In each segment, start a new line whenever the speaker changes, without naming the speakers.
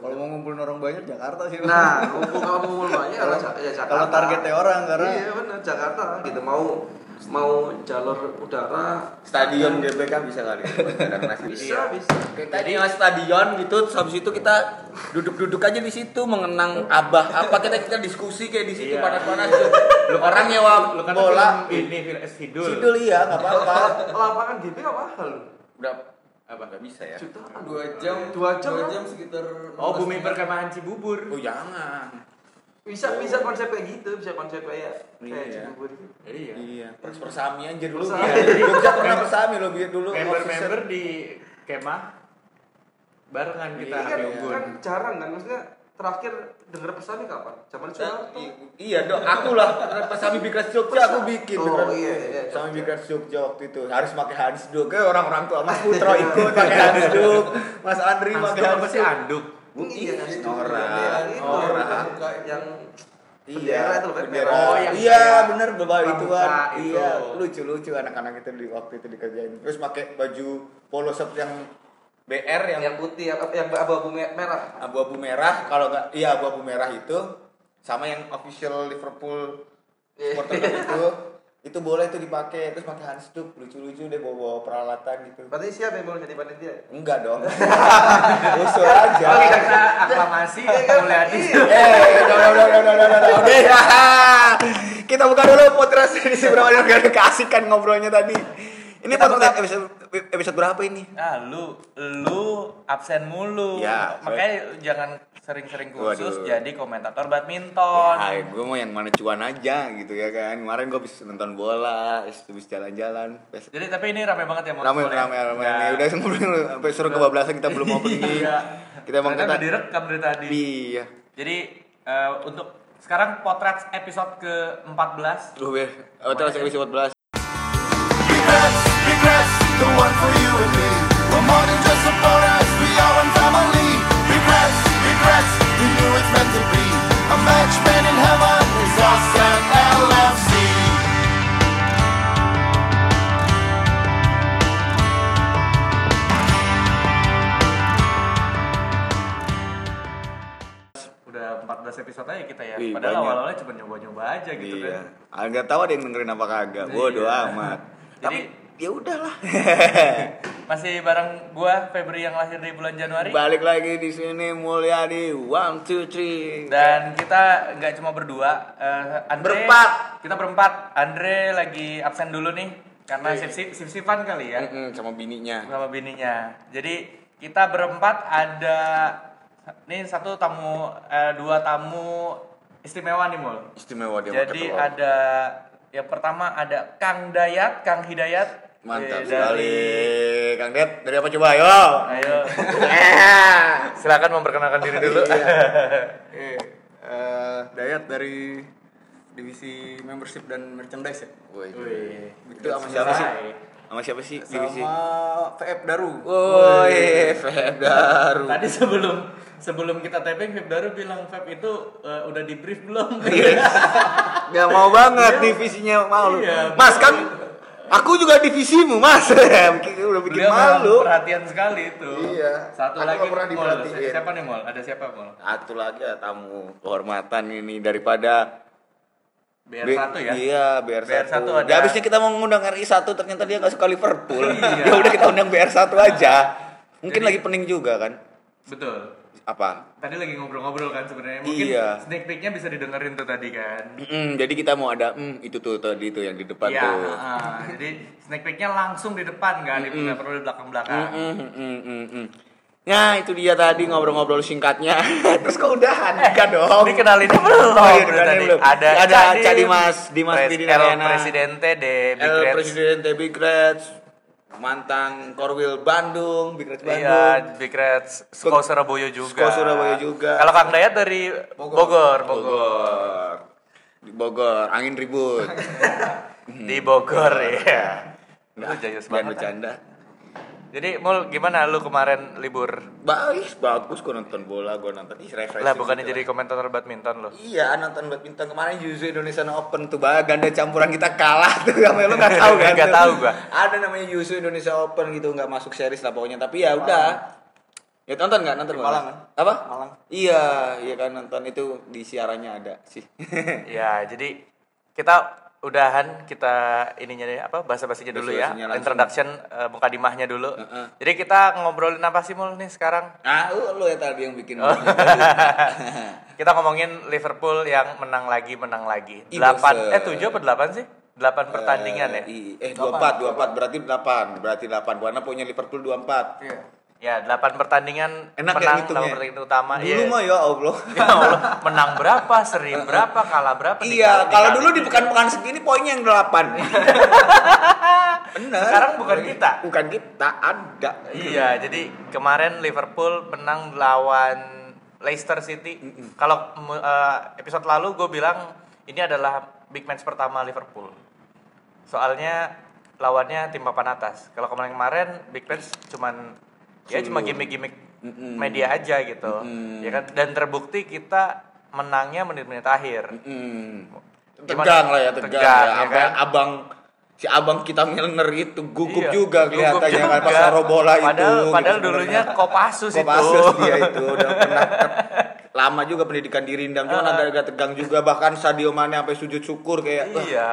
Kalau mau ngumpulin orang banyak Jakarta sih. Bang.
Nah, ngumpul kalau ngumpul banyak ya,
Kalau-
ya Jakarta.
kalau targetnya orang, karena-
Iya benar Jakarta gitu mau mau jalur udara
Stadion GBK bisa kali. Karena
bisa
Iya.
bisa.
Jadi mas Iya. stadion gitu, terus habis itu kita duduk-duduk aja di situ mengenang abah apa kita kita diskusi kayak di situ
Iya.
panas-panas tuh. Orang nyewa bola
kan
bola ini
eh,
virus hidul.
Sidul iya, nggak apa-apa.
Lapangan GP nggak mahal loh.
udah
Apa enggak bisa
Iya.
ya?
Jutaan.
dua jam,
Dua jam, kan?
sekitar.
Oh,
15
bumi
menit.
perkemahan Cibubur.
Oh jangan.
Bisa bisa konsep kayak gitu, bisa konsep kayak kayak
Iya.
Cibubur gitu.
Iya.
Iya, pers persamian aja dulu.
Persami.
Iya. Jogja pernah persami loh biar dulu.
Member-member di kemah barengan
Iya,
kita
Ini kan,
api unggun.
kan jarang kan maksudnya terakhir denger pesannya kapan? Zaman Soeharto.
I- iya dong, aku lah pas kami bikin Jogja aku bikin.
Oh,
beneran.
iya, iya.
Sama Bikers Jogja waktu itu harus pakai Hansduk. Kayak orang-orang tua Mas Putra ikut pakai Hansduk. Mas Andri pakai
Masuk apa sih
Hansduk.
anduk?
Iya, kan?
Nora.
Itu,
Nora.
yang
Iya,
bendera itu loh, kan?
bendera.
merah.
Oh, yang
iya,
kayak
bener bawa
pramuka
ituan.
itu.
Iya, lucu-lucu anak-anak itu di waktu itu dikerjain. Terus pakai baju polo shirt yang BR yang
yang putih yang yang abu-abu me- merah.
abu-abu merah kalau nggak iya abu-abu merah itu sama yang official Liverpool supporter club itu itu boleh itu dipakai terus pakai handstuck lucu-lucu deh bawa, bawa peralatan gitu
Berarti siapa yang mau jadi panitia?
enggak dong usul aja
Oh, kita aklamasi
Iya, kan?
mulai hati.
eh udah, udah, udah, udah, udah, udah, udah. oke ya. kita buka dulu podcast di seberapa negara keasikan ngobrolnya tadi ini podcast episode, episode berapa ini
Ah, lu lu absen mulu.
Ya,
Makanya jangan sering-sering
Waduh.
kursus jadi komentator badminton.
Hai, gue mau yang mana cuan aja gitu ya kan. Kemarin gue habis nonton bola, habis habis jalan-jalan. Bes-
Jadi tapi ini rame banget ya mau
Ramai ramai ramai. Ini Ya Udah ngobrol sampai suruh kebablasan kita belum mau pergi. Kita emang kata
Iya. Ternyata udah direkam dari tadi.
Iya.
Jadi eh, untuk sekarang potret episode ke-14
Duh, Beh. Oh, terus
ya.
habis buat belas.
udah 14 episode aja kita ya.
Wih,
Padahal
banyak.
awalnya cuma nyoba-nyoba aja gitu
Iya.
kan.
Agak tahu ada yang dengerin apa kagak. Bodoh amat.
Nah, iya. Jadi-
Tapi ya udahlah.
Masih bareng gua Febri yang lahir di bulan Januari.
Balik lagi di sini Mulyadi. One, two, three.
Dan kita nggak cuma berdua, eh, Andre
Berempat.
Kita berempat. Andre lagi absen dulu nih karena sip sip-sipan kali ya
Mm-mm, sama bininya.
sama bininya. Jadi kita berempat ada nih satu tamu eh, dua tamu istimewa nih mul.
Istimewa dia pakai
Jadi
telur.
ada yang pertama ada Kang Dayat, Kang Hidayat.
Mantap
Eh,
sekali.
dari-
Kang Det, dari apa coba? Ayo.
Ayo,
Eh.
silakan memperkenalkan diri dulu.
Iya.
Eh, eh, Dayat dari divisi membership dan merchandise ya.
Woi.
Wih.
Itu sama siapa sih?
Hai.
Sama siapa sih divisi?
Sama VF Daru.
Woi, Fedaru.
Tadi sebelum sebelum kita taping Feb Daru bilang Feb itu eh, udah di brief belum?
Gak mau banget divisinya malu.
Iya.
Mas kan aku juga divisimu, Mas. Bikin- Udah bikin
Beliau memang
malu.
perhatian sekali itu.
Iya.
Satu
Aku
lagi
nggak pernah
Mol.
diperhatiin.
Si- Siapa nih Mol? Ada siapa Mol?
Satu lagi ya tamu kehormatan ini daripada
BR1 ya.
Iya, BR1.
BR1 ada-
Ya, habisnya kita mau ngundang RI1 ternyata dia gak suka Liverpool.
Iya.
ya udah kita undang BR1 aja. Mungkin
Jadi-
lagi pening juga kan?
Betul.
Apa?
Tadi lagi ngobrol-ngobrol kan sebenarnya. Mungkin
Iya.
sneak peeknya bisa didengerin tuh tadi kan.
Mm, jadi kita mau ada mm, itu tuh tadi tuh yang di depan
Iya.
tuh.
heeh. jadi sneak peeknya langsung di depan kan, Nggak perlu di belakang-belakang.
Mm, mm, mm, mm. Nah itu dia tadi ngobrol-ngobrol singkatnya. Terus kok udahan? Enggak dong.
Eh, Ini kenalinnya belum.
Oh, iya,
dari
kenalinnya
tadi.
belum.
Ada
Ada Ca Dimas, Dimas
Pres-
Widiayana.
El Presidente de Big
El
Reds.
Presiden The Big Reds, mantan Korwil Bandung, Big Reds Bandung.
Iya, Big Reds. Sko Surabaya juga.
Sko Surabaya juga.
Kalau Kang Dayat dari Bogor, Bogor.
Bogor. Di Bogor, angin ribut.
Di Bogor ya.
Nah.
Lu jayus
Jangan
banget.
bercanda.
Jadi Mul gimana lu kemarin libur?
Baik, bagus gua nonton bola, gua nonton ih refreshing.
Lah bukannya
gitu
jadi komentator badminton lu.
Iya, nonton badminton kemarin Yuzu Indonesian Open tuh bah, ganda campuran kita kalah tuh sama lu nggak tahu kan?
Nggak
tuh.
tahu gua.
Ada namanya Yuzu Indonesia Open gitu nggak masuk series lah pokoknya. Tapi ya udah. Ya nonton nggak nonton
kan?
Di Malang,
Apa?
Malang.
Iya, iya kan nonton itu di siarannya ada sih.
Ya, jadi kita udahan kita ininya deh, apa bahasa basinya dulu ya.
Basa-basinya langsung.
Introduction eh, mukadimahnya dulu.
Heeh.
Jadi kita ngobrolin apa sih mul nih sekarang?
ah, lu, lu ya tadi yang
Oh.
bikin.
Kita ngomongin Liverpool yang menang lagi, menang lagi.
Ih,
8 eh
bosen.
7 apa 8 sih? 8 pertandingan ya.
Eh, i- eh 24, 24 berarti 8. Berarti 8. Buana punya Liverpool 24.
Ya, 8 pertandingan
Enak ya
menang
ngitungnya.
lawan pertandingan utama.
Dulu
Iya.
mah ya Allah.
Ya Allah, menang berapa, seri berapa, kalah berapa?
iya,
dikali-
kalau
dikali.
dulu di pekan-pekan segini poinnya yang 8. Bener.
Sekarang bukan kita.
Bukan kita, ada.
Iya, jadi kemarin Liverpool menang lawan Leicester City. Kalau mm, eh, episode lalu gue bilang ini adalah big match pertama Liverpool. Soalnya lawannya tim papan atas. Kalau kemarin kemarin big match cuman ya cuma gimmick-gimmick media aja gitu. Ya kan dan terbukti kita menangnya menit-menit akhir.
Hmm.
Gimana?
Tegang lah ya, tegang.
Tegang,
ya.
ya
Sampai
kan?
abang si abang kita Milner itu gugup
Iya,
juga
gugup
kelihatannya kan
juga.
pas naruh bola itu. gitu
Padahal,
iya,
padahal
sebenarnya.
dulunya Kopassus,
Kopassus
itu.
dia itu udah pernah ter- lama juga pendidikan di Rindang cuman agak-agak tegang juga bahkan Sadio Mane sampai sujud syukur kayak "Wah,
Iya.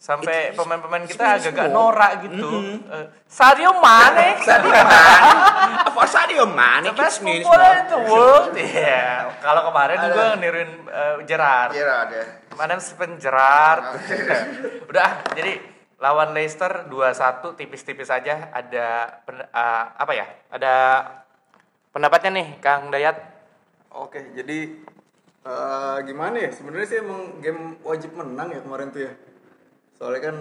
Sampai pemain-pemain kita
sebenarnya
agak
semua.
norak gitu. Eh, Sadio Mane. Sadio
apa Sadio Mane
Best
Kids means
footballer in
what?"
the world. Iya. Kalau kemarin gue niruin eh, Gerrard.
Kira ada.
Kemarin Steven Gerrard. Udah, jadi lawan Leicester 2-1 tipis-tipis aja ada pen- eh, apa ya? Ada pendapatnya nih Kang Dayat.
Oke, jadi eh, gimana ya? Sebenarnya sih emang game wajib menang ya kemarin tuh ya. Soalnya kan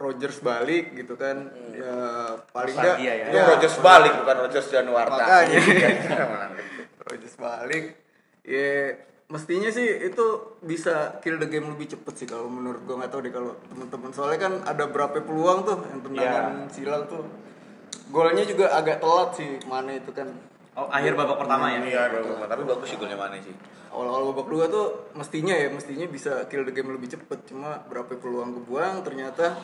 Rogers balik gitu kan. Ya paling Iya, enggak
Nostalgia ya.
Itu Rodgers balik bukan Rodgers Januarta
Makanya. Rogers balik. Ya mestinya sih itu bisa kill the game lebih cepet sih kalau menurut gua nggak tahu deh kalau teman-teman soalnya kan ada berapa peluang tuh yang tendangan silang tuh golnya juga agak telat sih mana itu kan
Oh, akhir babak pertama ya.
Iya, bagus. tapi bagus sih golnya Mane sih
awal-awal babak kedua tuh mestinya ya mestinya bisa kill the game lebih cepet cuma berapa peluang kebuang ternyata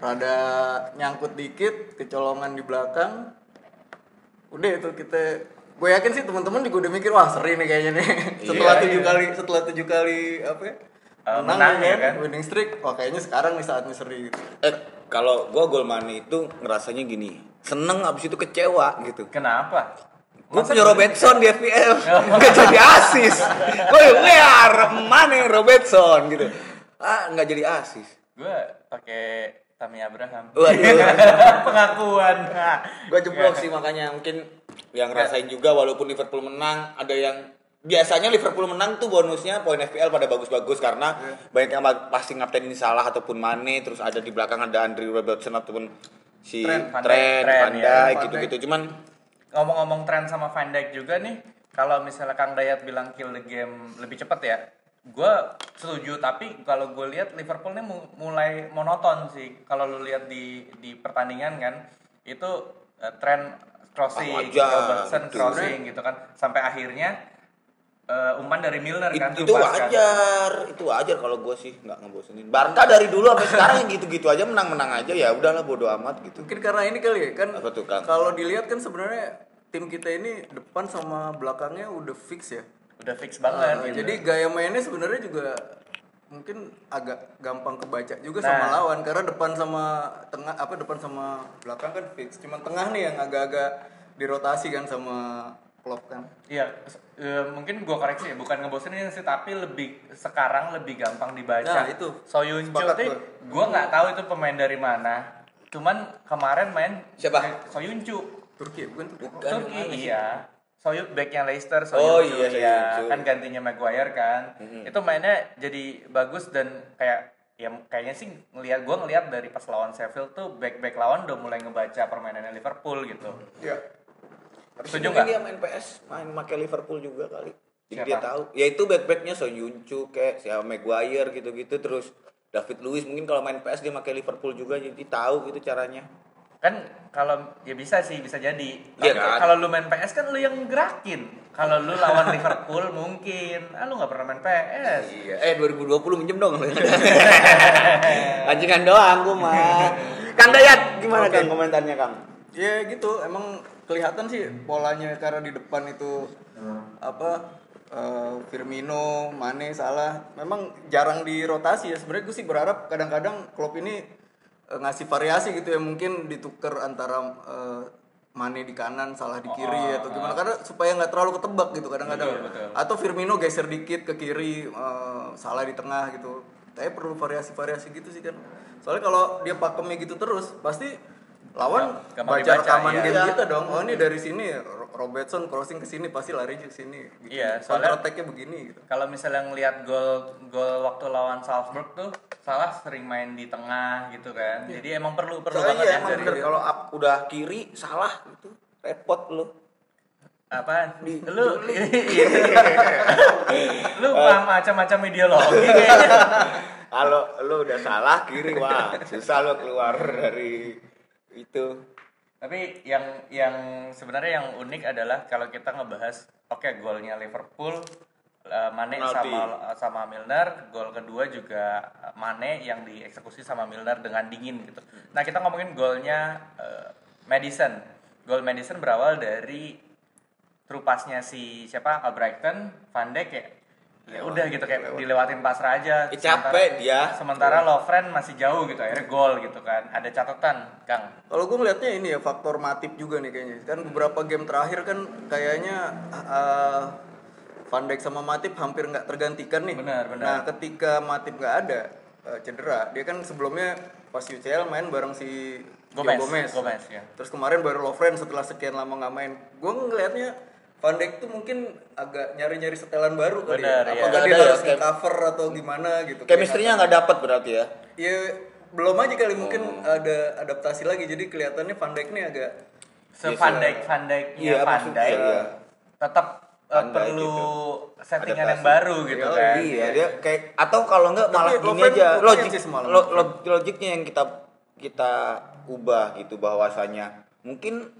rada nyangkut dikit kecolongan di belakang udah itu kita gue yakin sih teman-teman juga udah mikir wah seri nih kayaknya nih setelah tujuh kali setelah tujuh kali apa ya, iya. menang, ya kan, winning streak wah kayaknya sekarang nih saatnya seri gitu
eh kalau gua gol Mane itu ngerasanya gini seneng abis itu kecewa gitu
Kenapa?
Gue punya Robertson di FPL Gak jadi asis Gue we are money Robertson gitu Ah gak jadi asis
Gue pakai Tami Abraham.
Waduh
Pengakuan.
Gue jeblok sih makanya mungkin Yang ngerasain juga walaupun Liverpool menang Ada yang Biasanya Liverpool menang tuh bonusnya poin FPL pada bagus-bagus karena
Iya.
banyak yang ma- pasti ngapten ini salah ataupun Mane terus ada di belakang ada Andre Robertson ataupun si
Trent,
Trent,
Van Dijk, Trent,
Van
ya,
Dijk
Van
gitu-gitu cuman
ngomong-ngomong tren sama Van Dijk juga nih kalau misalnya Kang Dayat bilang kill the game lebih cepat ya gue setuju tapi kalau gue lihat Liverpool nih mu- mulai monoton sih kalau lu lihat di di pertandingan kan itu eh, tren crossing
Sama aja,
Robertson
betul.
crossing gitu kan sampai akhirnya eh, umpan dari Milner kan
It- itu
kipas kan.
wajar, itu wajar kalau gue sih nggak ngebosenin. Barca dari dulu sampai sekarang yang gitu-gitu aja menang-menang aja ya udahlah bodo amat gitu.
mungkin karena ini kali ya kan
Apa tuh, Kang?
kalau dilihat kan sebenarnya tim kita ini depan sama belakangnya udah fix ya
udah fix banget
Ah,
Nah,
gitu.
jadi gaya mainnya sebenarnya juga mungkin agak gampang kebaca juga sama
Nah.
lawan karena depan sama tengah apa depan sama belakang kan fix. Cuman tengah nih yang agak-agak dirotasi kan sama Klopp kan.
Iya, s- eh, mungkin gua koreksi ya, bukan ngebosenin sih, tapi lebih sekarang lebih gampang dibaca.
Nah, itu.
Soyuncu
Sepakat gua.
tuh, gua nggak tahu itu pemain dari mana. Cuman kemarin main
Siapa?
eh, Soyuncu.
Turki ya, bukan Turki.
Turki iya. Soyu backnya Leicester, Soyuncu
Oh, iya,
iya.
Soyuncu.
kan gantinya Maguire kan.
Mhm.
Itu mainnya jadi bagus dan kayak ya kayaknya sih ngelihat gua ngelihat dari pas lawan Sheffield tuh back-back lawan udah mulai ngebaca permainannya Liverpool gitu.
Iya.
Setuju
Mungkin
nggak?
dia main PS, main pakai Liverpool juga kali. Jadi
Siapa?
dia tahu. Ya itu back-backnya Soyuncu kayak si Maguire gitu-gitu terus David Luiz mungkin kalau main PS dia pakai Liverpool juga jadi tahu gitu caranya.
kan kalau ya bisa sih bisa jadi
Iya
Tapi
kan?
kalau lu main PS kan lu yang gerakin kalau lu lawan Liverpool mungkin ah lu nggak pernah main PS
Iya. Eh 2020 minjem dong. Anjingan doang gua mah. Kang Dayat gimana Kang komentarnya Kang?
Ya gitu, emang kelihatan sih polanya karena di depan itu apa eh, Firmino, Mane, Salah memang jarang dirotasi ya. Sebenarnya gue sih berharap kadang-kadang Klopp ini eh, ngasih variasi gitu ya mungkin ditukar antara eh, Mane di kanan, Salah di
Oh, ah,
kiri atau gimana karena supaya nggak terlalu ketebak gitu kadang-kadang.
Iya,
Atau Firmino geser dikit ke kiri, eh, Salah di tengah gitu. Tapi perlu variasi-variasi gitu sih kan. Soalnya kalau dia pakemnya gitu terus pasti lawan baca
gampang dibaca,
rekaman
iya.
game kita dong. Oh ini dari sini Ro- Robertson crossing ke sini pasti lari ke sini. Gitu.
Iya,
Counter
soalnya-
attack-nya begini gitu.
Kalau misalnya ngelihat gol gol waktu lawan Salzburg tuh salah sering main di tengah gitu kan. Jadi emang perlu
Iya.
perlu
Soalnya
banget
iya,
ya
emang
dari
bener. kalau up- udah kiri salah gitu repot lu.
apaan? Lu lu paham macam-macam ideologi kayaknya.
Kalau lu udah salah kiri wah susah lu keluar dari itu.
Tapi yang yang sebenarnya yang unik adalah kalau kita ngebahas oke golnya Liverpool eh, Mane
Penalti.
sama eh, sama Milner, gol kedua juga eh, Mane yang dieksekusi sama Milner dengan dingin gitu. Nah, kita ngomongin golnya eh, Madison. Gol Madison berawal dari true pass-nya si siapa? Albrighton, Van Dijk ya. Ya udah gitu kayak dilewatin pasrah aja.
Eh, capek dia.
Sementara Lovren masih jauh gitu akhirnya gol gitu kan. Ada catatan, Kang.
Kalau gue ngeliatnya ini ya faktor matip juga nih kayaknya. Kan beberapa game terakhir kan kayaknya eh, Van Dijk sama Matip hampir nggak tergantikan nih.
Benar, benar.
Nah ketika Matip nggak ada eh, cedera, dia kan sebelumnya pas UCL main bareng si Joe
Gomez, Gomez, ya.
Terus kemarin baru Lovren setelah sekian lama nggak main. Gue ngelihatnya Van Dijk tuh mungkin agak nyari-nyari setelan baru kali
Benar,
ya.
iya.
Apa
Nggak
dia
ada ya,
harus
kayak-
cover atau gimana gitu.
Chemistry-nya nggak dapet berarti ya.
Ya belum aja kali mungkin ada adaptasi lagi jadi kelihatannya Van Dijk nih agak
sepandai pandainya
Iya, maksudnya,
pandai
iya.
tetap eh,
Van Dijk
perlu settingan yang
Adaptasi.
baru gitu kan
Iya, dia kayak atau kalau enggak
Tapi
malah gini
Lovren
aja
oke
logik
sih ya semalam.
lo- lo- logiknya yang kita kita ubah gitu bahwasanya mungkin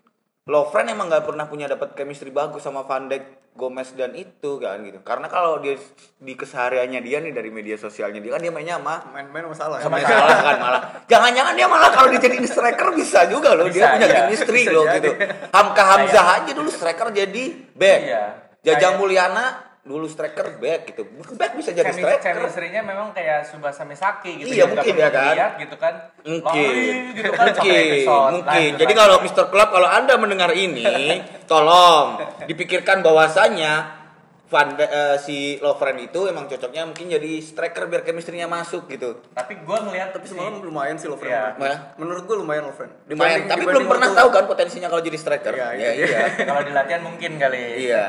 Lovren emang nggak pernah punya dapat chemistry bagus sama Van Dijk, Gomez dan itu kan gitu. Karena kalau dia di kesehariannya dia nih dari media sosialnya dia kan dia mainnya sama
main-main masalah. ya.
sama salah kan malah jangan-jangan dia malah kalau dijadiin striker bisa juga loh dia
Bisa,
punya
iya.
chemistry
Bisa
loh
jadi.
gitu Hamka Hamzah aja dulu striker jadi back
Iya.
Jajang
Kayak-
Mulyana dulu striker back gitu back bisa jadi
Chemi-
striker
chemistry-nya memang kayak Subasa Misaki gitu
Iya,
ya,
mungkin ya
udah
kan?
lihat gitu kan
mungkin
lari gitu kan sampai
mungkin
episode, gitu kan.
mungkin
lanjut,
jadi
lanjut.
kalau Mr. Club kalau anda mendengar ini tolong dipikirkan bahwasannya Van Dijk- eh, si Lovren itu emang cocoknya mungkin jadi striker biar chemistry-nya masuk gitu
tapi gue ngelihat
Tapi semalam lumayan sih Lovren.
Iya.
Mana?
Menurut gue lumayan Lovren.
Lumayan,
Dibanding- dibanding
tapi belum pernah
waktu-
tahu kan potensinya kalau jadi striker.
Iya,
Ya,
iya.
iya.
kalau di latihan mungkin kali
Iya.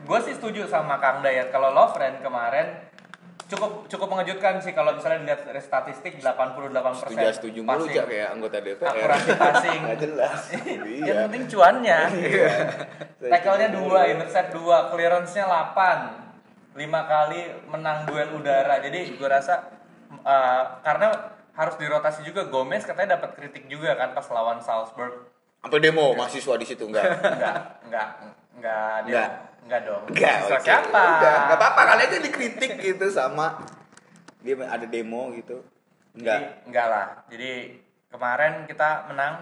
gue sih setuju sama Kang Dayat kalau Lovren kemarin cukup cukup mengejutkan sih kalau misalnya dilihat dari statistik 88%
Setuju setuju mulu
ya, passing.
Jak, kayak anggota DPR.
Akurasi passing.
Nggak jelas.
yang
iya. gitu.
penting cuannya Iya. tackle-nya 2, intercept 2, clearance-nya 8 5 kali menang duel udara jadi gue rasa eh, karena harus dirotasi juga Gomez katanya dapat kritik juga kan pas lawan Salzburg
Sampai demo mahasiswa di situ enggak.
enggak enggak enggak dia
Enggak.
enggak, dong
Enggak.
Terus
oke.
siapa
Udah, enggak apa-apa kalian itu dikritik gitu sama dia ada demo gitu.
jadi
Enggak.
enggak lah jadi kemarin kita menang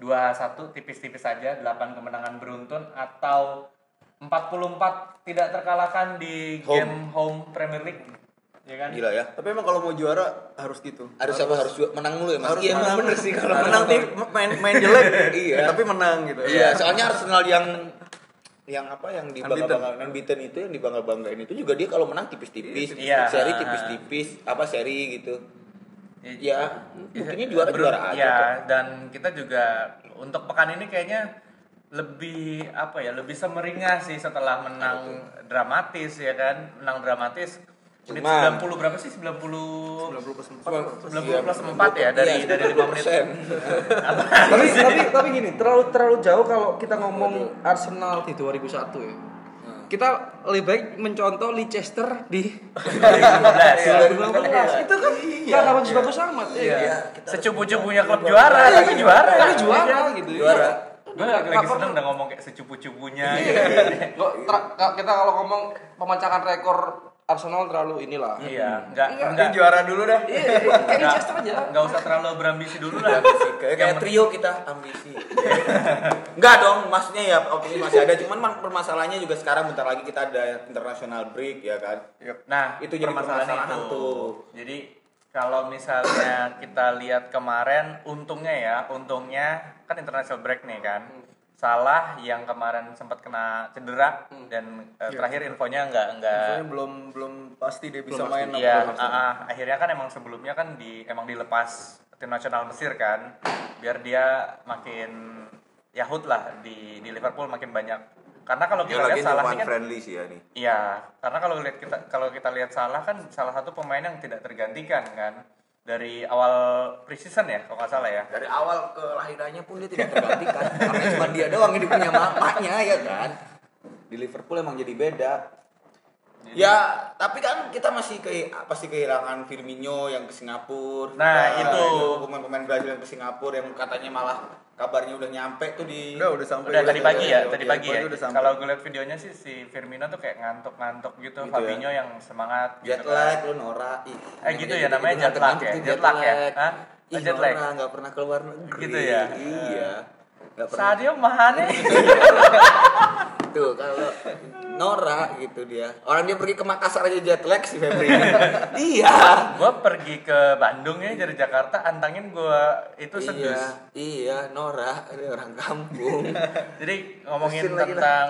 2-1 tipis-tipis saja 8 kemenangan beruntun atau 44 tidak terkalahkan di
Home.
game home Premier League ya kan
Gila ya.
Tapi emang kalau mau juara harus gitu.
Harus apa harus ju- menang mulu ya Mas?
Harus
Iya, emang
menang.
bener sih kalau
menang
menang.
nih main main jelek
Iya.
tapi menang gitu.
Iya, soalnya Arsenal yang yang apa yang di
Unbeaten.
bangga unbeaten itu yang dibangga banggain itu juga dia kalau menang tipis-tipis,
Iya.
seri tipis-tipis, apa seri gitu. Ya, mungkinnya juara
Berun-
juara aja. kan.
ya,
kok.
dan kita juga untuk pekan ini kayaknya lebih apa ya lebih semeringah sih setelah
Iya,
menang dramatis ya kan menang dramatis menit
Cuman-
90 berapa sih 90
90 plus 4.
90 plus 4 ya dari
Iya,
dari 5 menit
20%.
apa
tapi
sih?
tapi tapi gini terlalu terlalu jauh kalau kita ngomong Arsenal di 2001 ya kita lebih baik mencontoh Leicester di 2019 itu kan nggak bagus-bagus amat ya
Iya. secupu-cupunya klub juara tapi juara
Iya,
Iya.
tapi juara gitu juara
gue lagi, lagi seneng udah ngomong kayak secupu-cupunya gitu.
Lo- tra- ka- kita kalau ngomong pemancangan rekor Arsenal terlalu inilah.
Iya, enggak
Enggak,
enggak
juara dulu deh.
Iya, kayak
Nah.
Leicester aja.
enggak usah terlalu berambisi dulu lah.
Kayak,
Yang
kayak trio kita ambisi. Enggak dong, maksudnya ya optimis masih ada, cuman man- permasalahannya juga sekarang bentar lagi kita ada international break ya kan.
Nah,
Itu jadi permasalahan tuh.
Jadi kalau misalnya kita lihat kemarin untungnya ya, untungnya kan international break nih kan.
Hmm.
Salah yang kemarin sempat kena cedera
Hmm.
dan eh, terakhir infonya nggak nggak
Soalnya belum belum pasti dia bisa main apa
Iya, ah, ah. akhirnya kan emang sebelumnya kan di emang dilepas tim nasional Mesir kan, biar dia makin Yahut lah di di Liverpool makin banyak. Karena kalau kita lihat salah ini kan,
friendly sih ya nih.
iya, karena kalau lihat kita kalau kita lihat salah kan salah satu pemain yang tidak tergantikan kan dari awal preseason ya kalau nggak salah ya.
Dari awal kelahirannya pun dia tidak tergantikan karena cuma dia doang yang punya mamanya ya kan. Di Liverpool emang jadi beda. ya, tapi kan kita masih ke pasti kehilangan Firmino yang ke Singapura.
Nah,
Kita
itu.
ada pemain-pemain Brazil yang ke Singapura yang katanya malah kabarnya udah nyampe tuh di
Udah udah sampai.
Udah tadi pagi
Udah,
ya, tadi
udah,
pagi ya.
iya, udah sampai.
Kalau gue lihat videonya sih si Firmino tuh kayak ngantuk-ngantuk gitu,
Gitu ya.
Fabinho yang semangat
jet
kan.
lag lu Nora. Ih,
Eh, gitu ya, namanya
gitu,
jet
gitu,
lag
ngantuk
ya?
tuh
Jet lag ya? Hah?
Ih,
Oh, jet lag.
Nora nggak pernah keluar negeri.
Gitu ya?
Iya. Nggak pernah.
Sadio Mane.
Tuh kalau Nora gitu dia. Orang dia pergi ke Makassar aja jet lag si Febri. iya.
gue pergi ke Bandung ya dari Jakarta antangin gue itu
Iya,
sedus
iya Nora, ada orang kampung.
jadi ngomongin
Terusin lagi
tentang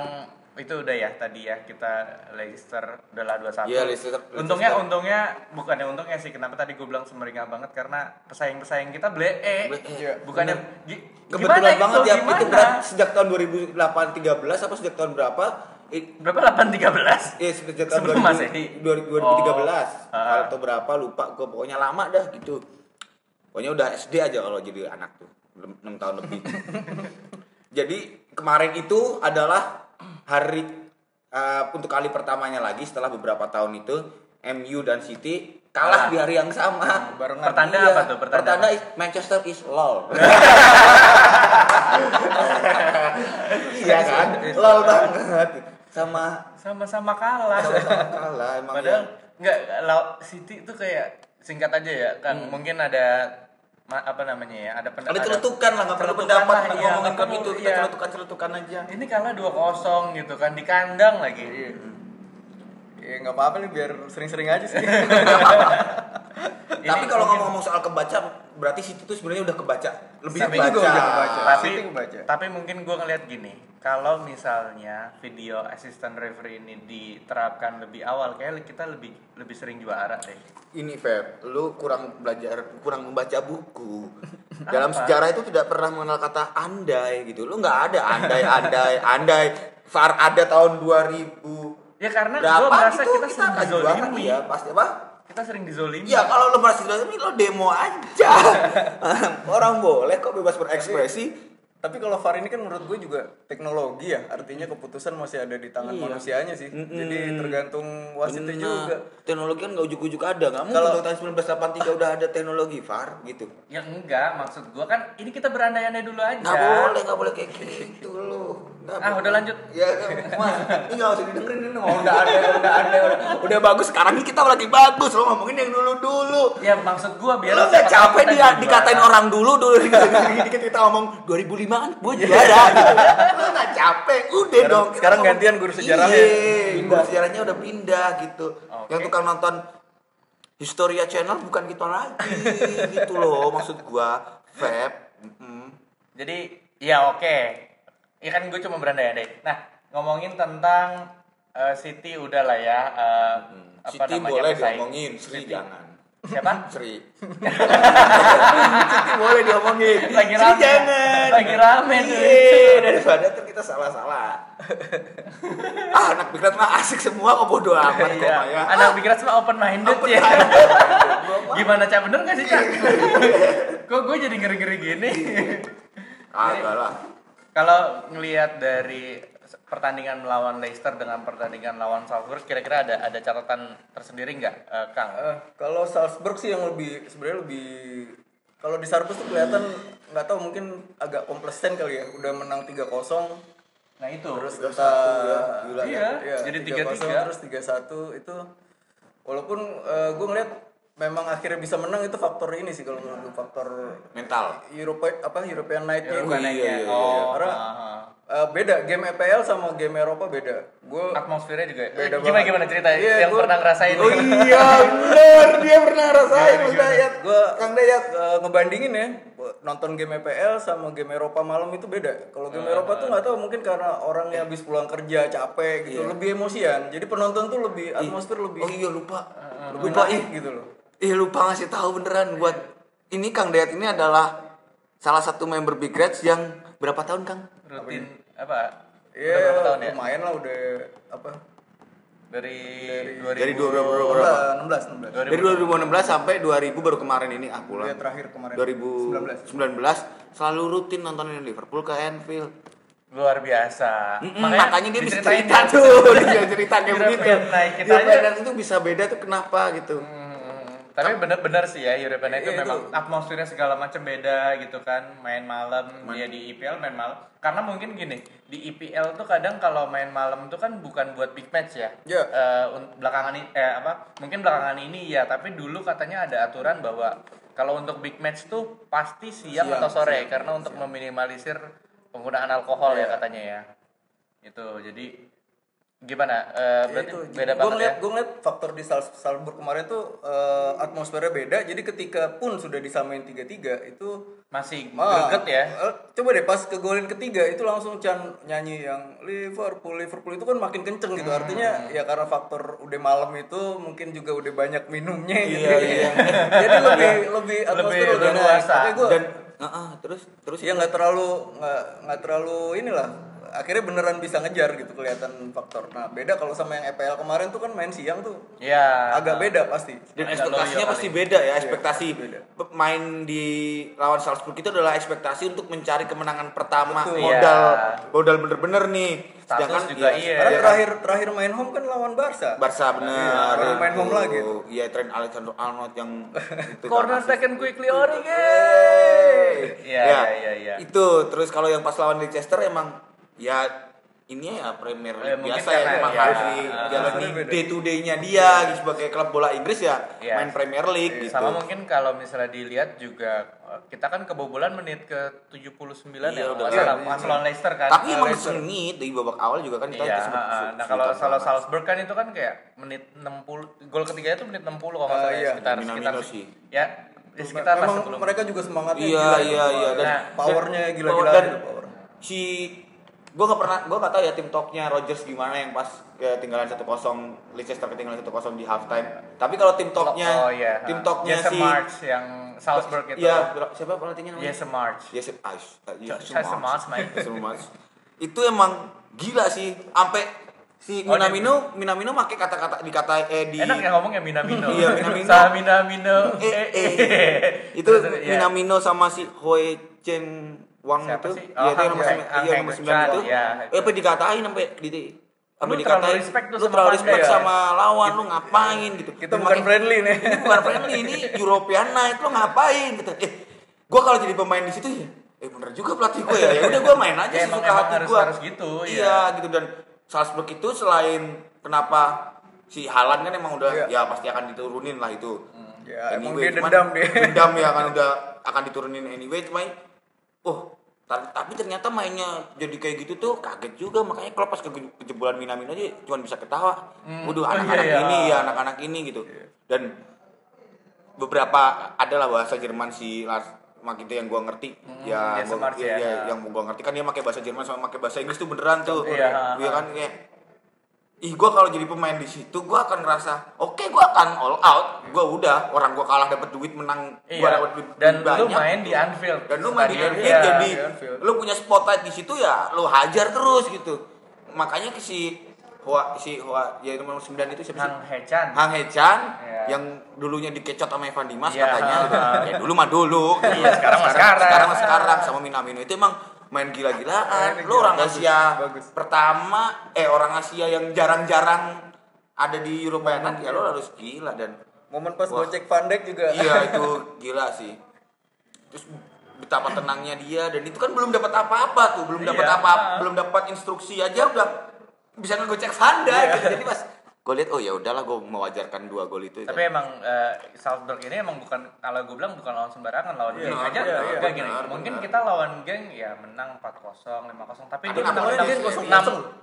itu udah ya tadi ya kita Leicester udah lah 21
Iya, Leicester- Leicester.
untungnya untungnya bukannya untungnya sih kenapa tadi gue bilang semeringat banget karena pesaing-pesaing kita blee
Iya,
bukannya gi-
Kebetulan
gimana
banget
itu,
ya
gimana?
itu berat sejak tahun 2008 13 apa sejak tahun berapa? It,
berapa 813
Iya, sejak tahun
Sebelum
2000
Masehi.
2000
Oh,
2013
ah.
atau berapa lupa gue pokoknya lama dah gitu pokoknya udah SD aja kalau jadi anak tuh 6 tahun lebih jadi kemarin itu adalah hari eh, untuk kali pertamanya lagi setelah beberapa tahun itu MU dan City kalah
Kalah. Oh,
di hari yang sama
Barengan.
pertanda
Iya,
apa tuh pertanda,
pertanda is- Manchester is lol iya kan lol banget sama
sama-sama kalah
sama-sama kalah emang ya.
Padahal nggak lau City tuh kayak singkat aja ya kan mungkin ada ma- apa namanya ya ada
Hmm.
pendapat
ada celetukan lah nggak perlu pendapat
lah,
nggak
iya,
ngomongin
nggak
klub
perlu,
itu kita
iya.
celetukan celetukan aja
ini kalah 2-0 gitu kan di kandang lagi Iya.
Ya enggak apa-apa nih biar sering-sering aja sih.
Ini
tapi kalau
mungkin-
ngomong-ngomong soal kebaca berarti situ tuh sebenarnya udah kebaca lebih
Tapi
kebaca,
juga udah kebaca.
tapi
City kebaca.
tapi mungkin gue ngeliat gini kalau misalnya video assistant referee ini diterapkan lebih awal kayak kita lebih lebih sering juara deh
ini Feb lu kurang belajar kurang membaca buku dalam sejarah itu tidak pernah mengenal kata andai gitu lu nggak ada andai andai andai far ada tahun 2000
ya karena gue
berapa
merasa
gitu
kita, sering
akan juara
dizolimi
ya pasti apa
kita sering dizolimi
Ya kalau lo merasa tidak ini lo demo aja. Orang boleh kok bebas berekspresi.
Tapi kalau VAR ini kan menurut gue juga teknologi ya, artinya keputusan masih ada di tangan manusianya sih. Jadi tergantung wasitnya juga.
Teknologi kan nggak ujuk-ujuk ada, nggak mungkin
Kalau-
kalau tahun 1983 udah ada teknologi VAR gitu.
ya enggak maksud gue kan ini kita berandai-andai dulu aja
Nggak boleh, nggak boleh kayak gitu lo. Nggak
Ah,
boleh.
udah lanjut.
Ya, mah, ini nggak usah didengerin ini ngomong udah ada, udah ada, udah, udah bagus. Sekarang ini kita lagi bagus, lo ngomongin yang dulu dulu.
Ya maksud gua biar
lo Iya, nggak
siapa tahu
capek
kita
Iya,
dia
juara.
dikatain orang dulu dulu dikit kita ngomong 2005 kan gue juara gitu. lo nggak capek udah
Iya. Sekarang-
dong
sekarang
Ngomong-
gantian guru sejarahnya.
Iya, guru sejarahnya udah pindah gitu
Oke.
yang tukang nonton Historia Channel bukan kita lagi gitu loh maksud gua Feb Mm-mm.
Jadi ya oke. Ya kan gue cuma berandai-andai. Nah, ngomongin tentang eh, City udah lah ya. eh, apa
Siti
namanya,
boleh
pesaing.
diomongin Sri jangan
Siapa?
Sri Siti boleh diomongin
Lagi
Sri
rame.
jangan
Lagi rame tuh.
Iya, daripada ntar kita salah-salah. ah, anak pikiran mah asik semua kok bodo amat kok ya.
Iya.
Maya.
Anak pikiran semua open minded ya. Gimana cak bener gak sih cak? Kok gue jadi ngeri-ngeri gini?
Agak Ah, lah.
Kalau ngelihat dari pertandingan melawan Leicester dengan pertandingan lawan Salzburg, kira-kira ada ada catatan tersendiri nggak, eh, Kang?
Eh, kalau Salzburg sih yang lebih sebenarnya lebih kalau di Sarpus tuh kelihatan nggak tahu mungkin agak komplesen kali ya udah menang 3-0
Nah itu.
terus
3-1
kita
Oh, ya, gila
ya.
iya,
Jadi
3-0,
3-3.
terus 3-1 itu Walaupun gue ngeliat memang akhirnya bisa menang itu faktor ini sih kalau menurut gue faktor
mental.
Eropa apa European Night Game.
European Night Game.
Oh, karena
ah.
eh, beda game EPL sama game Eropa beda. Gue
Atmosfernya juga
Beda
gimana
banget.
gimana ceritanya
Iya,
yang
gua-
pernah ngerasain.
Oh iya benar dia pernah rasain Mas Dayat. Gua Kang Dayat eh, ngebandingin ya nonton game EPL sama game Eropa malam itu beda. Kalau
Eh,
game Eropa tuh nggak tahu mungkin karena orang yang habis pulang kerja capek gitu lebih emosian. Jadi penonton tuh lebih atmosfer lebih
Oh iya lupa.
lebih
Lupa
naik
ih.
gitu loh.
Ih lupa ngasih tahu beneran buat ini Kang Dayat ini adalah salah satu member Big Reds yang berapa tahun Kang?
rutin apa? Udah
Iya
berapa tahun ya?
lumayan lah udah apa?
Dari
Dari
2000
16
Eh,
16
Dari 2016 sampai 2000 baru kemarin ini ah pulang.
Dia terakhir kemarin
2019 selalu rutin nontonin Liverpool ke Anfield.
luar biasa.
Mm-mm, makanya, dia bisa cerita
diceritain
tuh, dia bisa cerita kayak
European
begitu.
Night kita
European
aja.
Night itu bisa beda tuh kenapa gitu.
Tapi bener-bener sih ya European Night itu
Iya, itu.
memang atmosfernya segala macam beda gitu kan. Main malam dia di EPL main malam. Karena mungkin gini, di EPL tuh kadang kalau main malam tuh kan bukan buat big match ya.
Iya.
Eh, un- belakangan ini eh apa? Mungkin belakangan ini ya, tapi dulu katanya ada aturan bahwa kalau untuk big match tuh pasti siang,
Siang,
atau sore karena untuk meminimalisir penggunaan alkohol ya katanya ya. Itu jadi gimana? Eh, berarti beda
gue
banget ya.
ngeliat, Gue ngeliat faktor di Sal- Salzburg kemarin tuh eh, atmosfernya beda. Jadi ketika pun sudah disamain 3-3 itu
Masih
ah,
greget ya.
eh, coba deh pas ke golin ketiga itu langsung Chan nyanyi yang Liverpool Liverpool itu kan makin kenceng
Hmm.
gitu. Artinya ya karena faktor udah malam itu mungkin juga udah banyak minumnya gitu. Jadi lebih lebih atmosfer
Iya, Lebih
lebih naik.
leluasa.
Makanya gua-
Dan Heeh, terus terus
Iya,
ya nggak terlalu nggak nggak terlalu inilah akhirnya beneran bisa ngejar gitu kelihatan faktor nah beda kalau sama yang EPL kemarin tuh kan main siang tuh
Ya.
agak beda pasti
dan
Agak
ekspektasinya
loyo
pasti beda ya ekspektasi pemain di lawan Salzburg itu adalah ekspektasi untuk mencari kemenangan pertama
Betul.
modal
Iya.
modal bener-bener nih
Status juga iya.
karena
sedangkan
terakhir terakhir main home kan lawan Barca
Barca bener
baru main home
Aduh,
lagi tuh.
iya tren Alexander Arnold yang itu kan,
Corner taken quickly Origi.
Yeay.
Iya,
Ya,
iya, iya, iya.
Itu terus kalau yang pas lawan Leicester emang ya ini ya Premier League
Eh, mungkin
biasa ya
karena-
emang
ya,
harus
ah.
dijalani
Beda.
day to day-nya dia gitu, sebagai klub bola Inggris ya
Iya.
main Premier League gitu.
Sama mungkin kalau misalnya dilihat juga eh, kita kan kebobolan menit ke 79
Iya, udah
ya. Udah
kan.
salah pas lawan Leicester kan.
Tapi
Lawan
emang
Leicester.
sengit di babak awal juga kan kita
Iya,
sempat-
heeh. nah
sempat-
kalau
sempat-
kalau Salzburg kan itu kan kayak menit 60 gol ketiganya itu menit 60 kalau nggak
Ah,
salah ya,
iya.
sekitar sekitar
Minamino sih.
ya ya sekitar lah
memang
sebelum
mereka juga semangatnya
Iya,
gila
iya,
gitu.
iya. Dan-
Nah, powernya
dan-
gila-gila
dan-
gitu, power.
si gue gak pernah gue gak tau ya tim talknya Rogers gimana yang pas ketinggalan 1-0 Leicester ketinggalan 1-0 di halftime tapi kalau tim talknya
oh iya
tim
ha.
talknya
Jesse
si
March yang Salzburg itu
ya siapa pelatihnya namanya Ah,
Jesse March
Jesse Ice
Jesse March, mate.
Jesse March itu emang gila sih sampai si
Oh, dia-
Minamino Minamino make kata-kata dikata eh di
enak ya ngomongnya Minamino
Iya, Minamino.
Sah Minamino
eh, eh. itu
Terus, ya.
Minamino sama si Hoi Chen Wang
Siapa
itu
sih?
ya
Oh,
dia
Hang
nomor
Heng-
sembilan-
Hang
iya,
Heng
nomor
Heng
sembilan
Chan,
itu
ya.
eh apa dikatain sampai di apa
terlalu
dikatain
respect tuh
lu
sama
terlalu
Pandai,
respect
ya?"
sama lawan lu ngapain gitu
kita bukan friendly nih
ini bukan friendly ini European night lu ngapain gitu eh gua kalau jadi pemain di situ ya eh bener juga pelatih gue ya ya udah gua main aja
Ya,
sih
emang-
suka
emang
hati
harus-
gua
harus gitu,
iya gitu dan Salzburg itu selain kenapa si Halan kan emang udah
Iya.
ya pasti akan diturunin lah itu
Hmm.
ya emang
Anyway,
dia
cuman
dendam dia
dendam ya kan udah akan diturunin anyway cuma oh tar- tapi ternyata mainnya jadi kayak gitu tuh kaget juga makanya kalau pas ke kejebolan Minamino aja cuma bisa ketawa waduh
Oh,
anak-anak
iya, iya.
ini ya anak-anak ini gitu dan beberapa adalah bahasa Jerman si Lars mak itu yang gua ngerti ya,
Jesse
gua,
March
iya,
ya.
iya, yang gua ngerti kan dia pakai bahasa Jerman sama pakai bahasa Inggris tuh beneran tuh
Iya.
Iya kan kayak ih gue kalau jadi pemain di situ gue akan ngerasa oke gue akan all out gue udah orang gue kalah dapat duit menang gue
Iya.
dapat duit
Dan
banyak gitu.
lu main di Anfield.
dan lu main di
Stadion,
Anfield
iya.
jadi
di Anfield.
lu punya spotlight di situ ya lu hajar terus gitu makanya ke si Hua si Hua ya nomor 9 itu siapa sih
Hang Hechan.
Hang Hechan
Iya.
yang dulunya dikecot sama Evan Dimas
Iya.
katanya ya dulu mah dulu
Iya, sekarang
sekarang
mah sekarang.
sekarang, mah sekarang sama Minamino itu emang main gila-gilaan
Main
lu orang
gila, bagus,
Asia
bagus.
pertama eh orang Asia yang jarang-jarang ada di Eropa ya kan ya lu harus gila dan
momen pas
Wah.
gue cek Van Dijk juga
iya itu gila sih terus betapa tenangnya dia dan itu kan belum dapat apa-apa tuh belum dapat
Iya. Iya.
apa belum dapat instruksi aja udah bisa ngegocek sandal gitu. jadi pas gue lihat oh ya udahlah gue mewajarkan dua gol
gitu,
itu ya.
Tapi emang eh, Salzburg ini emang bukan kalau gue bilang bukan lawan sembarangan, lawan geng aja.
iya, iya,
Gua gini,
benar,
mungkin
benar.
kita lawan geng ya menang 4-0, 5-0, tapi
Tapi
dia menang
Napoli
6
geng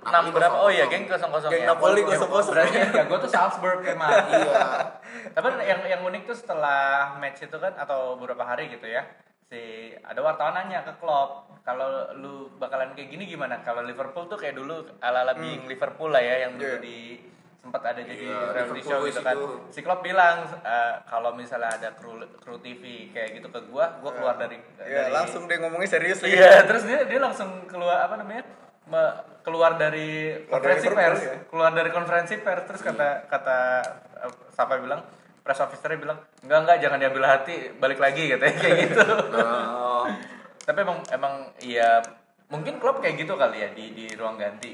0-0.
6
Napoli
berapa? Oh
0-0.
iya, geng 0-0.
Geng
ya.
Napoli
Ya,
0-0.
Berarti ya gue tuh Salzburg emang.
Iya.
Tapi yang yang unik tuh setelah match itu kan atau beberapa hari gitu ya. Si ada wartawan nanya ke Klopp, kalau lu bakalan kayak gini gimana? Kalau Liverpool tuh kayak dulu
Hmm.
ala-ala being Liverpool lah ya yang dulu di sempat ada jadi reality
Iya. Liverpool
show
boys
gitu kan.
itu.
Si Klopp bilang "Eh, kalau misalnya ada kru kru TV kayak gitu ke gua, gua keluar dari
Ya,
dari
langsung deh ngomongnya serius lagi.
Iya, terus dia dia langsung keluar apa namanya? me- keluar dari
dari
konferensi
Liverpool,
pers,
ya? Hmm.
keluar dari konferensi pers terus kata kata eh, siapa bilang press officer bilang enggak enggak jangan diambil hati balik lagi katanya kayak gitu.
Oh.
Tapi emang emang iya mungkin klub kayak gitu kali ya di di ruang ganti.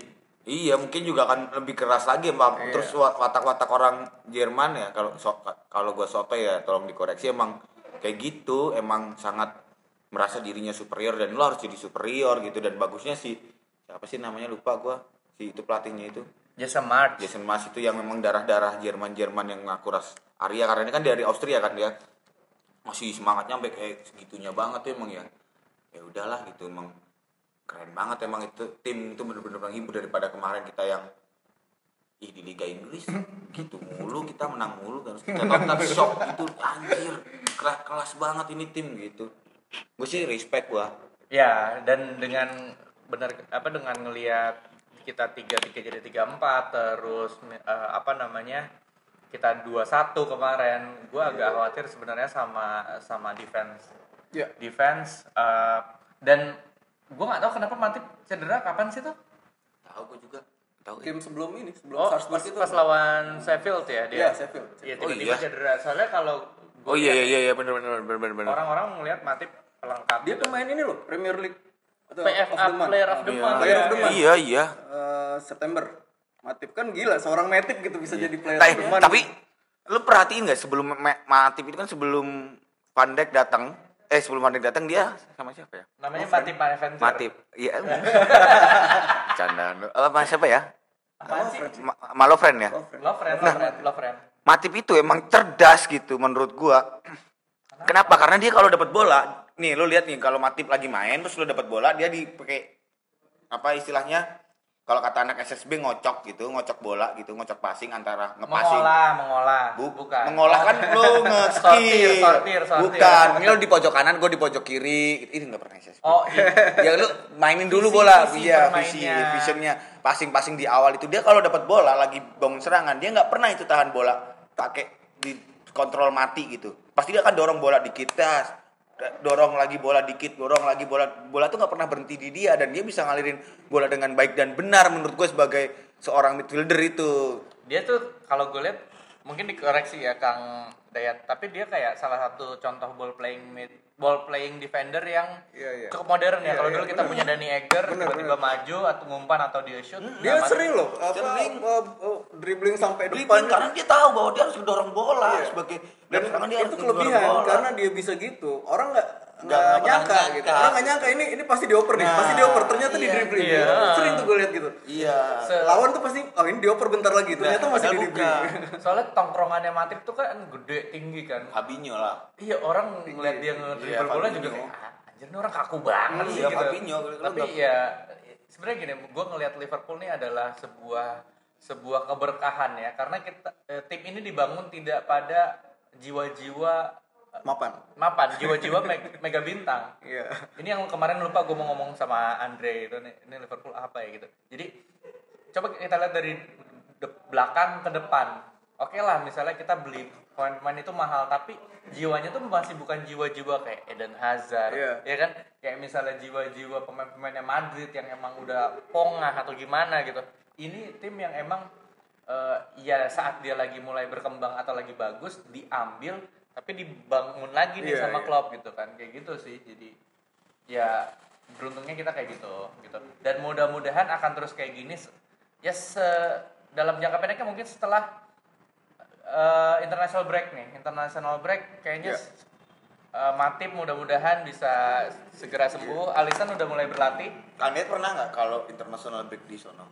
Iya mungkin juga akan lebih keras lagi emang
Iya.
terus wa- watak-watak orang Jerman ya kalau so- kalau gue soto ya tolong dikoreksi emang kayak gitu emang sangat merasa dirinya superior dan lo harus jadi superior gitu dan bagusnya si siapa sih namanya lupa gue si itu pelatihnya itu
Jason March.
Jason Mas itu yang memang darah-darah Jerman-Jerman yang ngaku ras Arya karena ini kan dari Austria kan dia masih semangatnya sampai kayak segitunya banget tuh emang ya ya udahlah gitu emang keren banget emang itu tim itu bener-bener menghibur daripada kemarin kita yang ih di Liga Inggris gitu mulu kita menang mulu kan Terus kita nonton shock gitu anjir kelas kelas banget ini tim gitu gue sih respect gua
Ya, dan dengan benar apa dengan ngelihat kita tiga tiga jadi tiga empat terus eh, apa namanya kita dua satu kemarin, gue agak khawatir sebenarnya sama sama defense
Iya.
defense eh, dan gue nggak tahu kenapa Matip cedera kapan sih tuh?
tahu gue juga tahu
Game sebelum ini, sebelum
Oh,
Iya.
pas,
Salzburg itu.
pas lawan Sheffield ya dia.
Iya, Sheffield.
Iya,
Oh,
tiba-tiba
iya.
cedera. Soalnya kalau gua
oh iya iya iya, iya bener bener bener bener, bener.
orang-orang melihat Matip pelengkap.
Dia pemain ini loh, Premier League. Atau
PFA
of the month.
Player of the Month.
Player of the Month.
iya iya
Eh, September. Matip kan gila, seorang Matip gitu bisa jadi player
Iya.
of
Tapi,
the month.
ya, tapi lu perhatiin nggak sebelum Ma- Matip itu kan sebelum Pandek datang, eh sebelum Pandek datang dia sama siapa ya?
Namanya Matip Manavenger.
Matip. Iya. Canda. Apa siapa ya?
Apaan sih?
Ma Malofren ya.
Love friend, love friend, love friend.
Matip itu emang cerdas gitu menurut gua. Kenapa? Karena dia kalau dapat bola, nih lu lihat nih kalau Matip lagi main terus lu dapat bola dia dipakai apa istilahnya? Kalau kata anak SSB ngocok gitu, ngocok bola gitu, ngocok passing antara ngepasing.
Mengolah, mengolah.
Bu-
Bukan.
Mengolah kan lo
Sortir,
nge-skip.
sortir, sortir.
Bukan, ini lo di pojok kanan, gue di pojok kiri. Ini enggak pernah saya.
Oh, iya.
Ya lu mainin dulu
Visi-
bola,
visi
iya,
permainnya.
visi visionnya, passing-passing di awal itu dia kalau dapat bola lagi bangun serangan, dia nggak pernah itu tahan bola pakai di kontrol mati gitu. Pasti dia akan dorong bola dikit, tas dorong lagi bola dikit, dorong lagi bola. Bola tuh nggak pernah berhenti di dia dan dia bisa ngalirin bola dengan baik dan benar menurut gue sebagai seorang midfielder itu.
dia tuh kalau gue lihat mungkin dikoreksi ya Kang Dayat, tapi dia kayak salah satu contoh ball playing mid ball playing defender yang
Iya, iya.
cukup modern ya.
Iya,
kalau
iya,
dulu kita punya Dani Egger
Bener,
tiba-tiba maju atau ngumpan atau dia shoot.
dia
nah,
sering loh, apa,
Sering.
eh, eh, dribbling sampai depan.
Dribbling karena dia tahu bahwa dia harus mendorong bola
Iya.
sebagai
dan
serangan dia
itu
harus
kelebihan
mendorong bola.
karena dia bisa gitu. Orang nggak
Nggak-
nggak
nggak
nyangka gitu.
pernah nyangka. Nah.
Orang nggak nyangka ini ini pasti dioper nih, pasti dioper. Ternyata di dribbling.
iya.
Sering tuh gue lihat gitu.
iya.
Se- Nah,
Lawan tuh pasti oh ini dioper bentar lagi. Ternyata masih di
padahal
dribbling.
soalnya tongkrongannya Matip tuh kan gede tinggi kan.
Fabinho lah.
Iya orang ngeliat dia ngedribble
Iya,
bola juga
Fabinho.
kayak "Ah, anjir nih orang kaku banget sih
Iya,
gitu.
Fabinho, kalau
Tapi
nggak-
ya sebenarnya gini, gue ngelihat Liverpool ini adalah sebuah sebuah keberkahan ya karena kita eh, tim ini dibangun tidak pada jiwa-jiwa eh,
Mapan.
mapan, jiwa-jiwa meg- mega bintang.
Iya.
Ini yang kemarin lupa gue mau ngomong sama Andre itu nih, ini Liverpool apa ya gitu. Jadi coba kita lihat dari de- belakang ke depan. Oke lah misalnya kita beli pemain-pemain itu mahal tapi jiwanya tuh masih bukan jiwa-jiwa kayak Eden Hazard
Iya.
ya kan kayak misalnya jiwa-jiwa pemain-pemainnya Madrid yang emang udah pongah atau gimana gitu. Ini tim yang emang eh, ya saat dia lagi mulai berkembang atau lagi bagus diambil tapi dibangun lagi nih
Iya,
sama
iya.
klub gitu kan kayak gitu sih jadi ya beruntungnya kita kayak gitu gitu dan mudah-mudahan akan terus kayak gini se- ya se- dalam jangka pendeknya mungkin setelah eh, international break nih international break
Iya.
kayaknya s- eh, Matip mudah-mudahan bisa
Iya.
segera sembuh Alisson udah mulai berlatih
Kalian pernah nggak kalau international break di sono?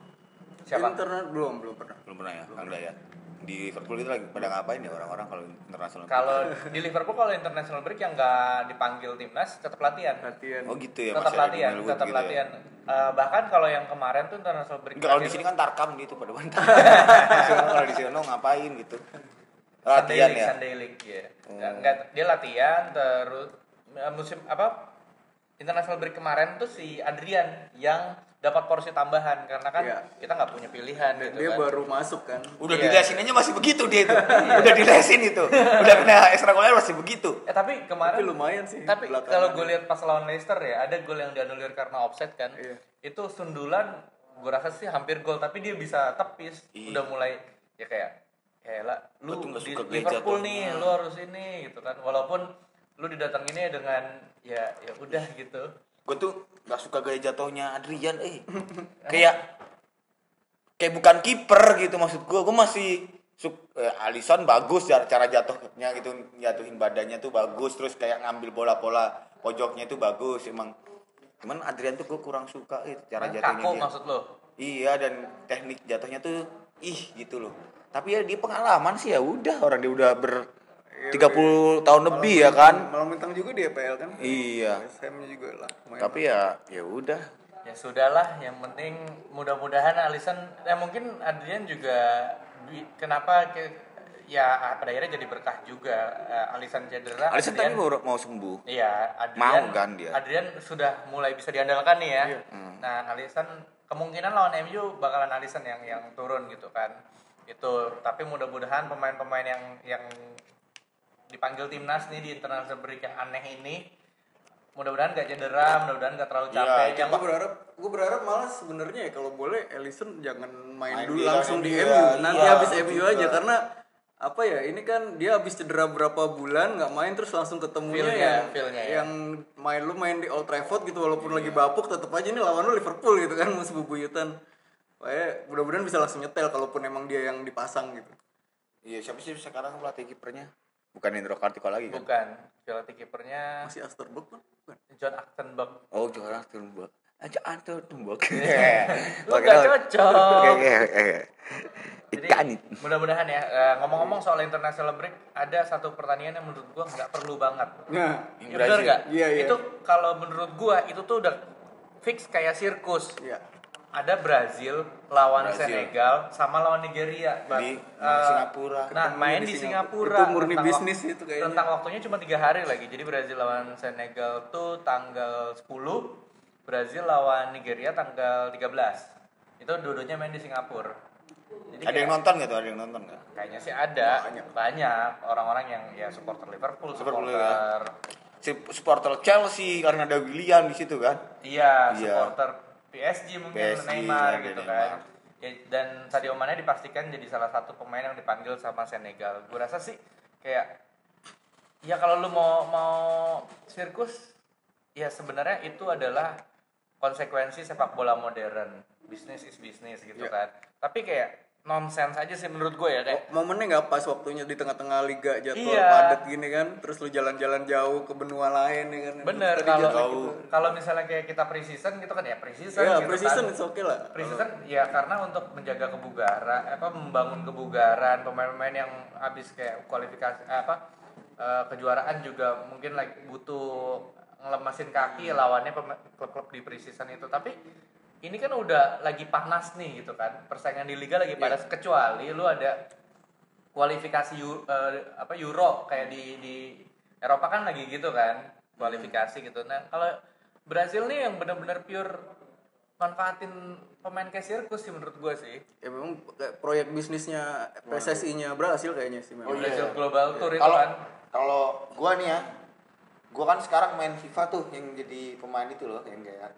Siapa?
Internet belum belum pernah.
Belum pernah ya, Kang Dayat. Di Liverpool itu lagi pada ngapain ya orang-orang kalau internasional?
Kalau di Liverpool kalau international break yang nggak dipanggil timnas tetap latihan.
Latihan.
Oh gitu ya,
tetap
masih ada di
latihan,
Melwood
tetap
gitu ya.
latihan. Eh, bahkan kalau yang kemarin tuh international break.
Enggak, kalau di
terakhir
sini kan tarkam gitu pada bantai. kalau di sini ngapain gitu?
Sunday
Latihan ya.
League,
Oh.
Sunday League ya. Nggak- nggak, dia latihan terus eh, musim apa international break kemarin tuh si Adrian yang dapat porsi tambahan karena kan
Iya.
kita nggak punya pilihan
Dan
gitu
dia
kan.
baru masuk kan.
Udah
Iya.
di lesin aja masih begitu dia itu. Udah di lesin itu. Udah kena ekstrakurikuler masih begitu.
Eh tapi
Tapi
kemarin
lumayan sih. Iya,
Tapi
belakangan.
kalau gue lihat pas lawan Leicester ya, ada gol yang dianulir karena offset kan.
Iya.
Itu sundulan gue rasa sih hampir gol tapi dia bisa tepis.
Iya.
Udah mulai ya kayak ya elah, lu
Gua tuh nggak
di
suka gereja
Liverpool
tuh. Iya.
nih, lu harus ini gitu kan. Walaupun lu didatanginnya dengan ya ya udah gitu.
Gue tuh gak suka gaya jatuhnya Adrian eh. kayak kayak bukan kiper gitu maksud gue. Gue masih suk eh, Alisson bagus cara, cara jatuhnya gitu jatuhin badannya tuh bagus terus kayak ngambil bola-bola pojoknya itu bagus emang cuman Adrian tuh gue kurang suka eh, cara jatuhnya
Kaku
dia.
maksud lu.
Iya dan teknik jatuhnya tuh ih gitu loh. Tapi ya dia pengalaman sih ya udah orang dia udah ber
Iya,
30 tahun lebih ya kan.
Malam bintang juga di EPL kan.
Iya.
SM juga lah. main.
Tapi ya ya udah.
Ya sudahlah, yang penting mudah-mudahan Alisson ya mungkin Adrian juga bi- kenapa ke, ya pada akhirnya jadi berkah juga Eh, Alisson cedera.
Nah, Alisson tadi
Adrian-
mau, mau sembuh.
Iya, Adrian.
Mau kan dia? Hmm.
Adrian sudah mulai bisa diandalkan nih ya. Nah, Alisson kemungkinan lawan MU bakalan Alisson yang yang turun gitu kan. Itu, tapi mudah-mudahan pemain-pemain yang yang dipanggil timnas nih di international break yang aneh ini mudah-mudahan gak cedera, mudah-mudahan gak terlalu
Iya,
capek.
itu
yang
gue berharap gue berharap malah sebenarnya ya kalau boleh Ellison jangan main,
Main
dulu
di
langsung di
ya.
MU
lawan dia,
nanti
iya,
habis
betul
MU aja karena apa ya ini kan dia habis cedera berapa bulan nggak main terus langsung ketemunya
Feel-nya,
yang
feel-nya ya.
yang main lu main di Old Trafford gitu walaupun lagi bapuk tetap aja ini lawan lu Liverpool gitu kan musuh bubuyutan Pokoknya mudah-mudahan bisa langsung nyetel kalaupun emang dia yang dipasang gitu
Iya, siapa sih sekarang pelatih kipernya? Bukan Indro Kartiko lagi kan?
bukan pelatih kipernya
masih Asterberg kan bukan
John Achtenberg.
Oh, Jorah Tumbok. Aja Anto Tumbok. Iya.
Lu gak cocok. Jadi
Ikan itu.
mudah-mudahan ya Eh, ngomong-ngomong soal international break ada satu pertandingan yang menurut gua nggak perlu banget.
nah
Ya, bener nggak?
Iya, iya.
Itu kalau menurut gua itu tuh udah fix kayak sirkus.
ya
Ada Brazil lawan
Brazil.
Senegal sama lawan Nigeria. Bang.
Di
Eh,
Singapura.
Nah
Ketemu
main
di
di
Singapura.
Singapura.
Itu murni
Rentang
bisnis
wak-
itu kayaknya.
Rentang waktunya cuma tiga hari lagi. Jadi Brazil lawan Senegal tuh tanggal 10, Brazil lawan Nigeria tanggal 13. Itu dua-duanya main di Singapura. Jadi
Ada yang
kayak-
nonton nggak tuh? Ada yang nonton nggak?
Kayaknya sih ada banyak orang-orang yang ya supporter Liverpool,
Liverpool,
supporter
ya.
Si supporter Chelsea karena ada William di situ kan?
Iya,
Iya.
supporter PSG mungkin
PSG,
Neymar
ada
gitu
iya, Neymar.
kan. Ya, dan Sadio Mane dipastikan jadi salah satu pemain yang dipanggil sama Senegal. Gue rasa sih kayak ya kalau lu mau mau sirkus ya sebenarnya itu adalah konsekuensi sepak bola modern. Bisnis is bisnis gitu
Iya.
kan. Tapi kayak nonsens aja sih menurut gue ya kayak
momennya nggak pas waktunya di tengah-tengah liga jadwal
Iya.
padat gini kan terus lu jalan-jalan jauh ke benua lain ya kan
Oh,
bener
Terus tadi
kalau
jadwal-
kalau misalnya kayak kita pre-season gitu kan ya pre-season
ya
Iya,
gitu
precision
kan.
it's okay lah
Preseason ya karena untuk menjaga kebugaran, apa membangun kebugaran pemain-pemain yang habis kayak kualifikasi eh, apa eh, kejuaraan juga mungkin like butuh ngelemasin kaki lawannya pema- klub-klub di preseason itu. Tapi ini kan udah lagi panas nih gitu kan. Persaingan di liga lagi panas kecuali lu ada kualifikasi Eu- eh, apa Euro kayak di di Eropa kan lagi gitu kan kualifikasi gitu. Nah, kalau Brazil nih yang benar-benar pure manfaatin pemain kayak sirkus sih menurut gue sih.
ya memang kayak proyek bisnisnya PSSI-nya berhasil kayaknya sih memang.
Brazil Global Tour itu
Oh, iya. kalau
kan.
kalau gua nih ya gua kan sekarang main FIFA tuh yang jadi pemain itu loh yang kayak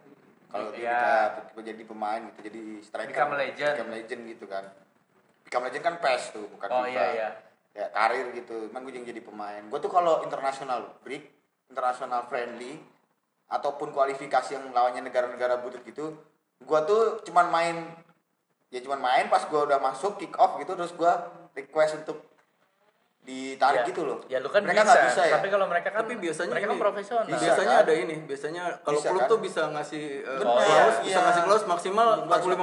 kalau
Iya.
kita pe- jadi pemain gitu jadi striker
Become legend.
Become legend gitu kan Become legend kan PES tuh bukan
Oh,
FIFA
iya, iya.
ya karir gitu emang gue yang jadi pemain gue tuh kalau international break international friendly ataupun kualifikasi yang lawannya negara-negara butut gitu gue tuh cuman main ya cuman main pas gue udah masuk kick off gitu terus gue request untuk ditarik gitu loh.
Ya lu kan
mereka
bisa,
nggak bisa ya.
Tapi kalau mereka kan
tapi biasanya
mereka kan
ini-
profesional.
Bisa.
biasanya
kan?
ada ini biasanya kalau
Bisa
klub
kan?
tuh bisa ngasih eh,
Benar,
clause, bisa
iya.
ngasih clause maksimal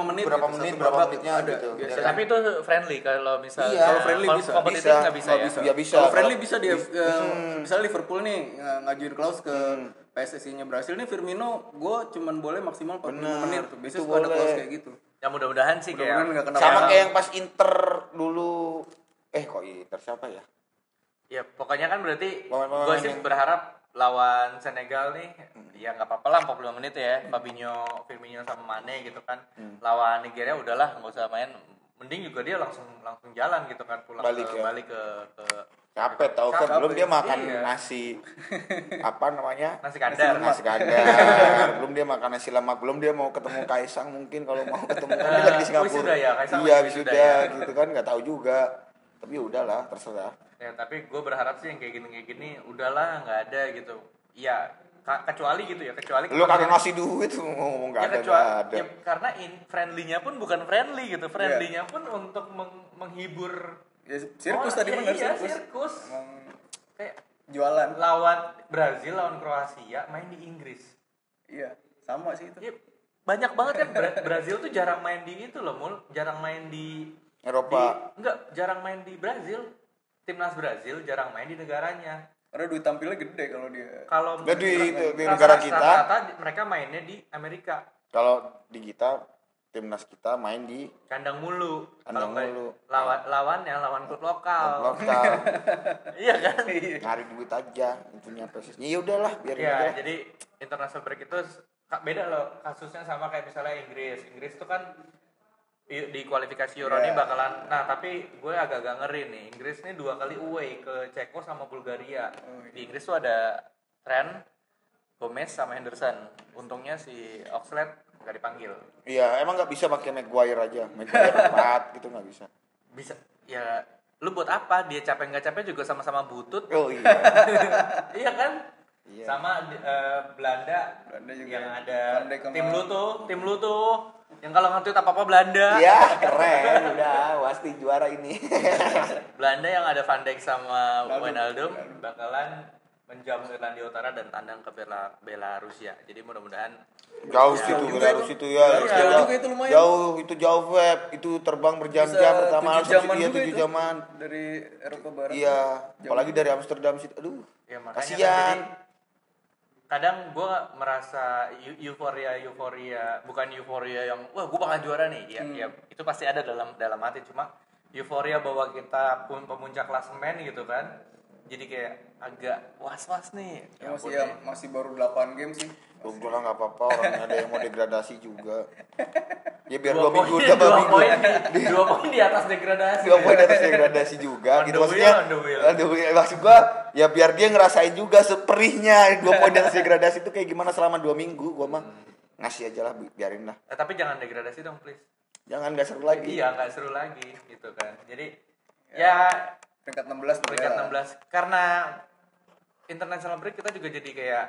45 menit
Berapa
gitu,
menit,
satu
berapa
babak
menitnya
ada
gitu.
biasanya
Tapi itu friendly kalau misalnya
Iya.
Kalau friendly
kom-
bisa.
Kompetitif nggak bisa,
nggak
ya.
bisa. Ya bisa. Hmm.
Kalau friendly
Kalau-
bisa dia eh, misalnya Liverpool nih eh, ngajuin clause ke
Hmm.
PSSI-nya Brasil nih Firmino gue cuman boleh maksimal 45 menit tuh. Biasanya
itu
suka ada clause
boleh.
kayak gitu.
Ya mudah-mudahan sih
Mudah-mudahan nggak
kayak
kena
Sama kayak yang pas Inter dulu eh kok Inter siapa ya?
Ya pokoknya kan berarti
Pemain-pemain
gue sih
yang-
berharap lawan Senegal nih
Hmm.
ya nggak apa-apa lah 45 menit ya Fabinho, Firmino sama Mane gitu kan
Hmm.
lawan Nigeria udahlah nggak usah main mending juga dia langsung langsung jalan gitu kan pulang
Balik
ke
ya.
balik ke, ke
Capek tau
Capek.
kan belum dia makan
Iya.
nasi apa namanya?
nasi kandar
Nasi kandar. belum dia makan nasi lemak, belum dia mau ketemu Kaisang mungkin kalau mau ketemu kan dia lagi di
Ah,
Singapura.
wisuda ya, Kaisang
iya,
lagi
wisuda
wisuda
gitu kan nggak tahu juga. Tapi ya udahlah, terserah.
ya tapi gue berharap sih yang kayak gini kayak gini udahlah nggak ada gitu ya ka- kecuali gitu ya kecuali
Lu kagak ngasih duit mau ngomong
ya
gak ada
kecuali
nggak ada. Iya.
ya, karena in friendly-nya pun bukan friendly gitu friendly-nya pun untuk meng- menghibur
Ya, sirkus
orang.
tadi
Ya
benar
iya,
sirkus.
sirkus. Kayak
Jualan.
lawan Brazil lawan Kroasia main di Inggris
Iya, sama sih itu.
Ya, banyak banget kan Bra- Brazil tuh jarang main di itu loh mul jarang main di
Eropa.
di- enggak jarang main di Brazil timnas Brazil jarang main di negaranya
Karena duit tampilnya gede kalau dia.
kalau
Nah, di-
rata-
di negara
rata-
kita-
rata-rata di- mereka mainnya di Amerika
Kalau di kita timnas kita main di
kandang mulu
Kandang
Kalau nggak-
mulu.
lawan lawannya lawan klub lokal
lokal,
iya kan
cari duit aja intinya persisnya. Ya udahlah, biarin
Iya,
aja.
jadi international break itu s- ka- beda loh kasusnya sama kayak misalnya Inggris. Inggris itu kan i- di kualifikasi Euro ini bakalan nah tapi gue agak-agak ngeri nih Inggris ini dua kali away ke Ceko sama Bulgaria di Inggris tuh ada Trent Gomez sama Henderson untungnya si Oxlade gak dipanggil
Iya, emang nggak bisa pakai Maguire aja. Maguire 4 gitu nggak bisa.
bisa ya lu buat apa dia capek nggak capek juga sama-sama butut
Oh iya.
iya kan
Iya.
sama eh, Belanda,
Belanda juga.
yang ada
Belanda kemarin.
tim lu tuh tim lu tuh yang kalau ngerti apa apa Belanda
Iya, keren udah pasti juara ini.
Belanda yang ada Van Dijk sama Wijnaldum bakalan menjamu Irlandia Utara dan tandang ke Bela Belarusia jadi mudah-mudahan
jauh situ, Belarus itu ya.
Belarus
Itu
jauh
jauh-
juga itu lumayan.
Jauh itu jauh web, itu terbang berjam-jam
Bisa
pertama
tujuh
harus jaman
jaman
iya,
juga
tujuh
itu.
jaman.
Dari Eropa Barat.
Iya, apalagi dari Amsterdam situ. Aduh.
ya makanya kan
Kasihan.
jadi kadang gue merasa eu- euforia euforia bukan euforia yang wah gue bakal juara nih
Hmm.
ya, ya itu pasti ada dalam dalam hati cuma euforia bahwa kita pun pemuncak klasemen gitu kan jadi kayak agak was was nih
Ya,
ya,
masih
ampun,
ya,
nih.
masih baru 8 game sih.
Lu bilang nggak apa-apa orang ada yang mau degradasi juga. Ya biar dua
dua
minggu
poin
udah dua
dua
minggu.
poin di, dua poin di atas degradasi
Dua poin atas degradasi juga
On
gitu
the
maksudnya.
wheel, on the wheel.
on the wheel. Maksud gua ya biar dia ngerasain juga seperihnya dua poin atas degradasi itu kayak gimana selama dua minggu gua mah ngasih aja lah bi- biarin lah
Eh, tapi jangan degradasi dong please
jangan nggak seru lagi
iya nggak seru lagi gitu kan jadi ya
Peringkat 16
Iya.
peringkat
berbeda.
16 karena international break kita juga jadi kayak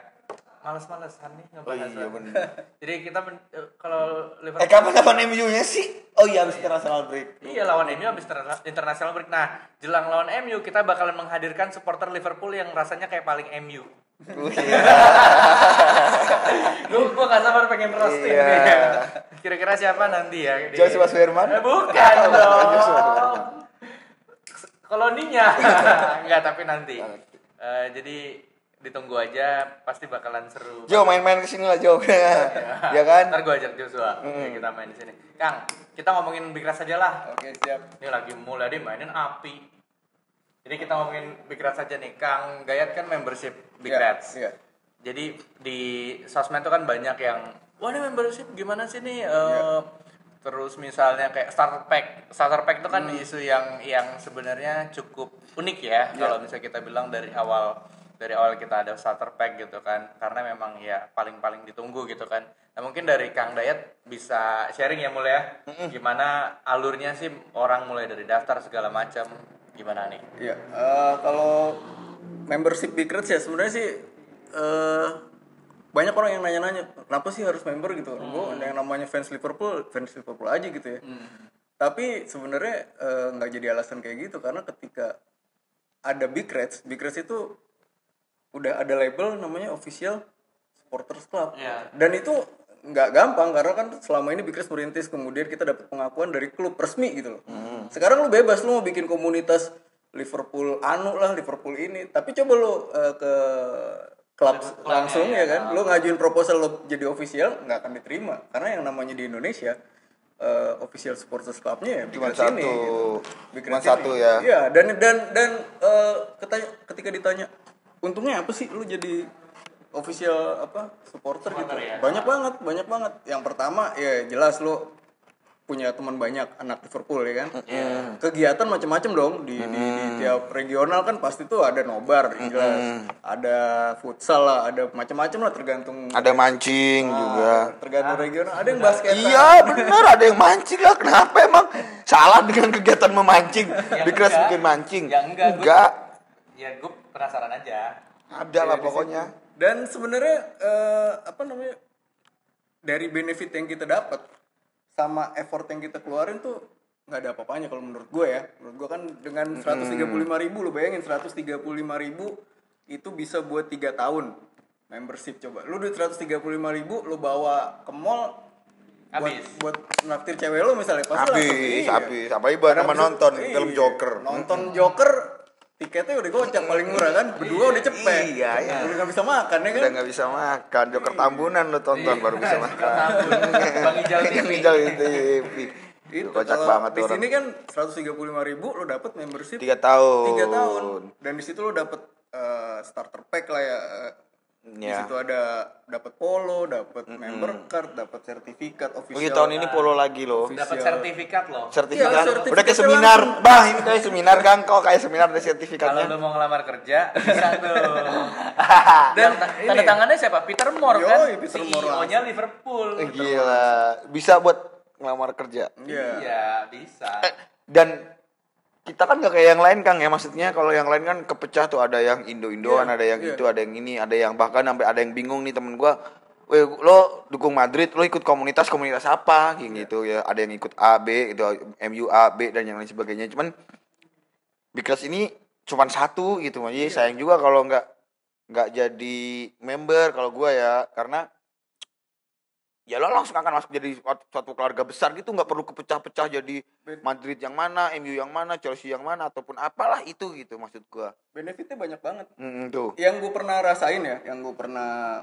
males-malesan nih
oh
ngebahas
iya
lah.
bener
jadi kita men- eh, kalau
eh
Liverpool
kapan kapan MU nya sih oh iya habis international break
Iya lawan MU habis terna- international break. Nah, jelang lawan MU kita bakalan menghadirkan supporter Liverpool yang rasanya kayak paling MU.
Oh, iya.
Gue gua gak sabar pengen roasting
Iya.
nih. Kira-kira siapa nanti ya? di-
Joshua Suherman?
Eh, bukan dong.
Joshua Suherman.
Koloninya. Enggak, tapi nanti. Eh, jadi ditunggu aja pasti bakalan seru.
Jo main-main kesini lah Jo ya kan
Ntar gue ajak Joshua Ya, kita main di sini. Kang, kita ngomongin Big Rasa aja lah.
Oke, siap.
Ini lagi mulai dimainin api. Jadi kita ngomongin Big Rats aja nih. Kang Gayat kan membership Big
Iya,
Rats.
Iya.
Jadi di sosmed tuh kan banyak yang wah ini membership gimana sih nih? Eh, Terus misalnya kayak starter pack. Starter pack itu kan isu yang yang sebenarnya cukup unik ya kalau misalnya kita bilang dari awal dari awal kita ada starter pack gitu kan karena memang ya paling-paling ditunggu gitu kan. Nah, mungkin dari Kang Dayat bisa sharing ya mulai ya. Gimana alurnya sih orang mulai dari daftar segala macam gimana nih?
Iya, eh, kalau membership Big Reds ya sebenarnya sih eh banyak orang yang nanya-nanya kenapa sih harus member gitu.
Hmm.
Gua yang namanya fans Liverpool, fans Liverpool aja gitu ya. Tapi sebenarnya eh, nggak jadi alasan kayak gitu karena ketika ada Big Reds. Big Reds itu udah ada label namanya official supporters club.
Iya.
Dan itu nggak gampang karena kan selama ini Big Reds merintis kemudian kita dapat pengakuan dari klub resmi gitu loh. Sekarang lu bebas lu mau bikin komunitas Liverpool anu lah, Liverpool ini. Tapi coba lu eh, ke klub langsung ya, kan. Lu ngajuin proposal lu jadi official nggak akan diterima karena yang namanya di Indonesia eh, official supporters clubnya ya Big
Cuma
Reds ini,
satu.
Big
Cuma
Reds
satu
ini.
ya.
Iya, dan dan dan eh, ketanya- ketika ditanya untungnya apa sih lu jadi official apa supporter, gitu. Banyak banget, banyak banget. Yang pertama ya jelas lu punya teman banyak anak Liverpool ya kan. Kegiatan macam-macam dong di, di, di tiap regional kan pasti tuh ada nobar ya jelas, ada futsal lah, ada macam-macam lah tergantung
Ada mancing
Ah.
juga.
tergantung regional. Ada yang basket.
Iya bener ada yang mancing lah kenapa emang salah dengan kegiatan memancing
Ya
Big Reds
enggak.
bikin mancing
Ya, enggak, gua-
enggak
ya gue penasaran aja
Iya,
ada lah pokoknya
Dan sebenarnya eh, apa namanya dari benefit yang kita dapat sama effort yang kita keluarin tuh nggak ada apa-apanya kalau menurut gue ya. Menurut gue kan dengan 135.000 ribu lo bayangin 135.000 itu bisa buat tiga tahun membership coba. Lu duit 135.000 lo bawa ke mall
Habis.
buat, buat naktir cewek lo misalnya pasti langsung,
habis
iya.
habis apa ibu nama
Karena
nonton
bisa-
film
iya.
Joker
Nonton Joker tiketnya udah gocek paling murah kan. Berdua udah cepet.
Iya, iya.
Udah nggak bisa makan ya kan.
udah nggak bisa makan Joker Tambunan lo tonton
Iya.
baru bisa makan
Bang Ijal
Yang
TV.
Ijal di TV Itu kocak
kalau
banget
Di
tuh orang
sini kan 135.000 ribu lo dapet membership
tiga tahun
tiga tahun. Dan di situ lo dapet eh, starter pack lah ya. eh, Di
Ya.
situ ada dapat polo, dapat member card, dapat sertifikat official.
Lagi iya, tahun ini polo lagi loh
dapat sertifikat loh
sertifikat.
Iya, sertifikatnya
udah kayak seminar
langsung.
bang ini kayak seminar kang kok kayak seminar ada sertifikatnya
kalau lu mau ngelamar kerja bisa tuh
Dan
dan tanda
ini-
tangannya siapa Peter Moore kan
Yoi, Peter Moore
CEO-nya Liverpool
Eh, gila bisa buat ngelamar kerja
Iya.
iya bisa
Eh, dan kita kan gak kayak yang lain kang ya maksudnya kalau yang lain kan kepecah tuh ada yang indo indoan ada yang
iya.
itu ada yang ini ada yang bahkan sampai ada yang bingung nih temen gua Weh, lo dukung Madrid, lo ikut komunitas komunitas apa kayak
Iya.
gitu ya. Ada yang ikut A, B, itu MU A, B dan yang lain sebagainya. Cuman Big Reds ini cuman satu gitu.
Iya.
Jadi sayang juga kalau nggak nggak jadi member kalau gua ya karena ya lo langsung akan masuk jadi suatu- suatu keluarga besar gitu nggak perlu kepecah-pecah jadi Madrid yang mana, MU yang mana, Chelsea yang mana ataupun apalah itu gitu maksud gua.
Benefitnya banyak banget.
Mm, tuh.
yang gue pernah rasain ya yang gue pernah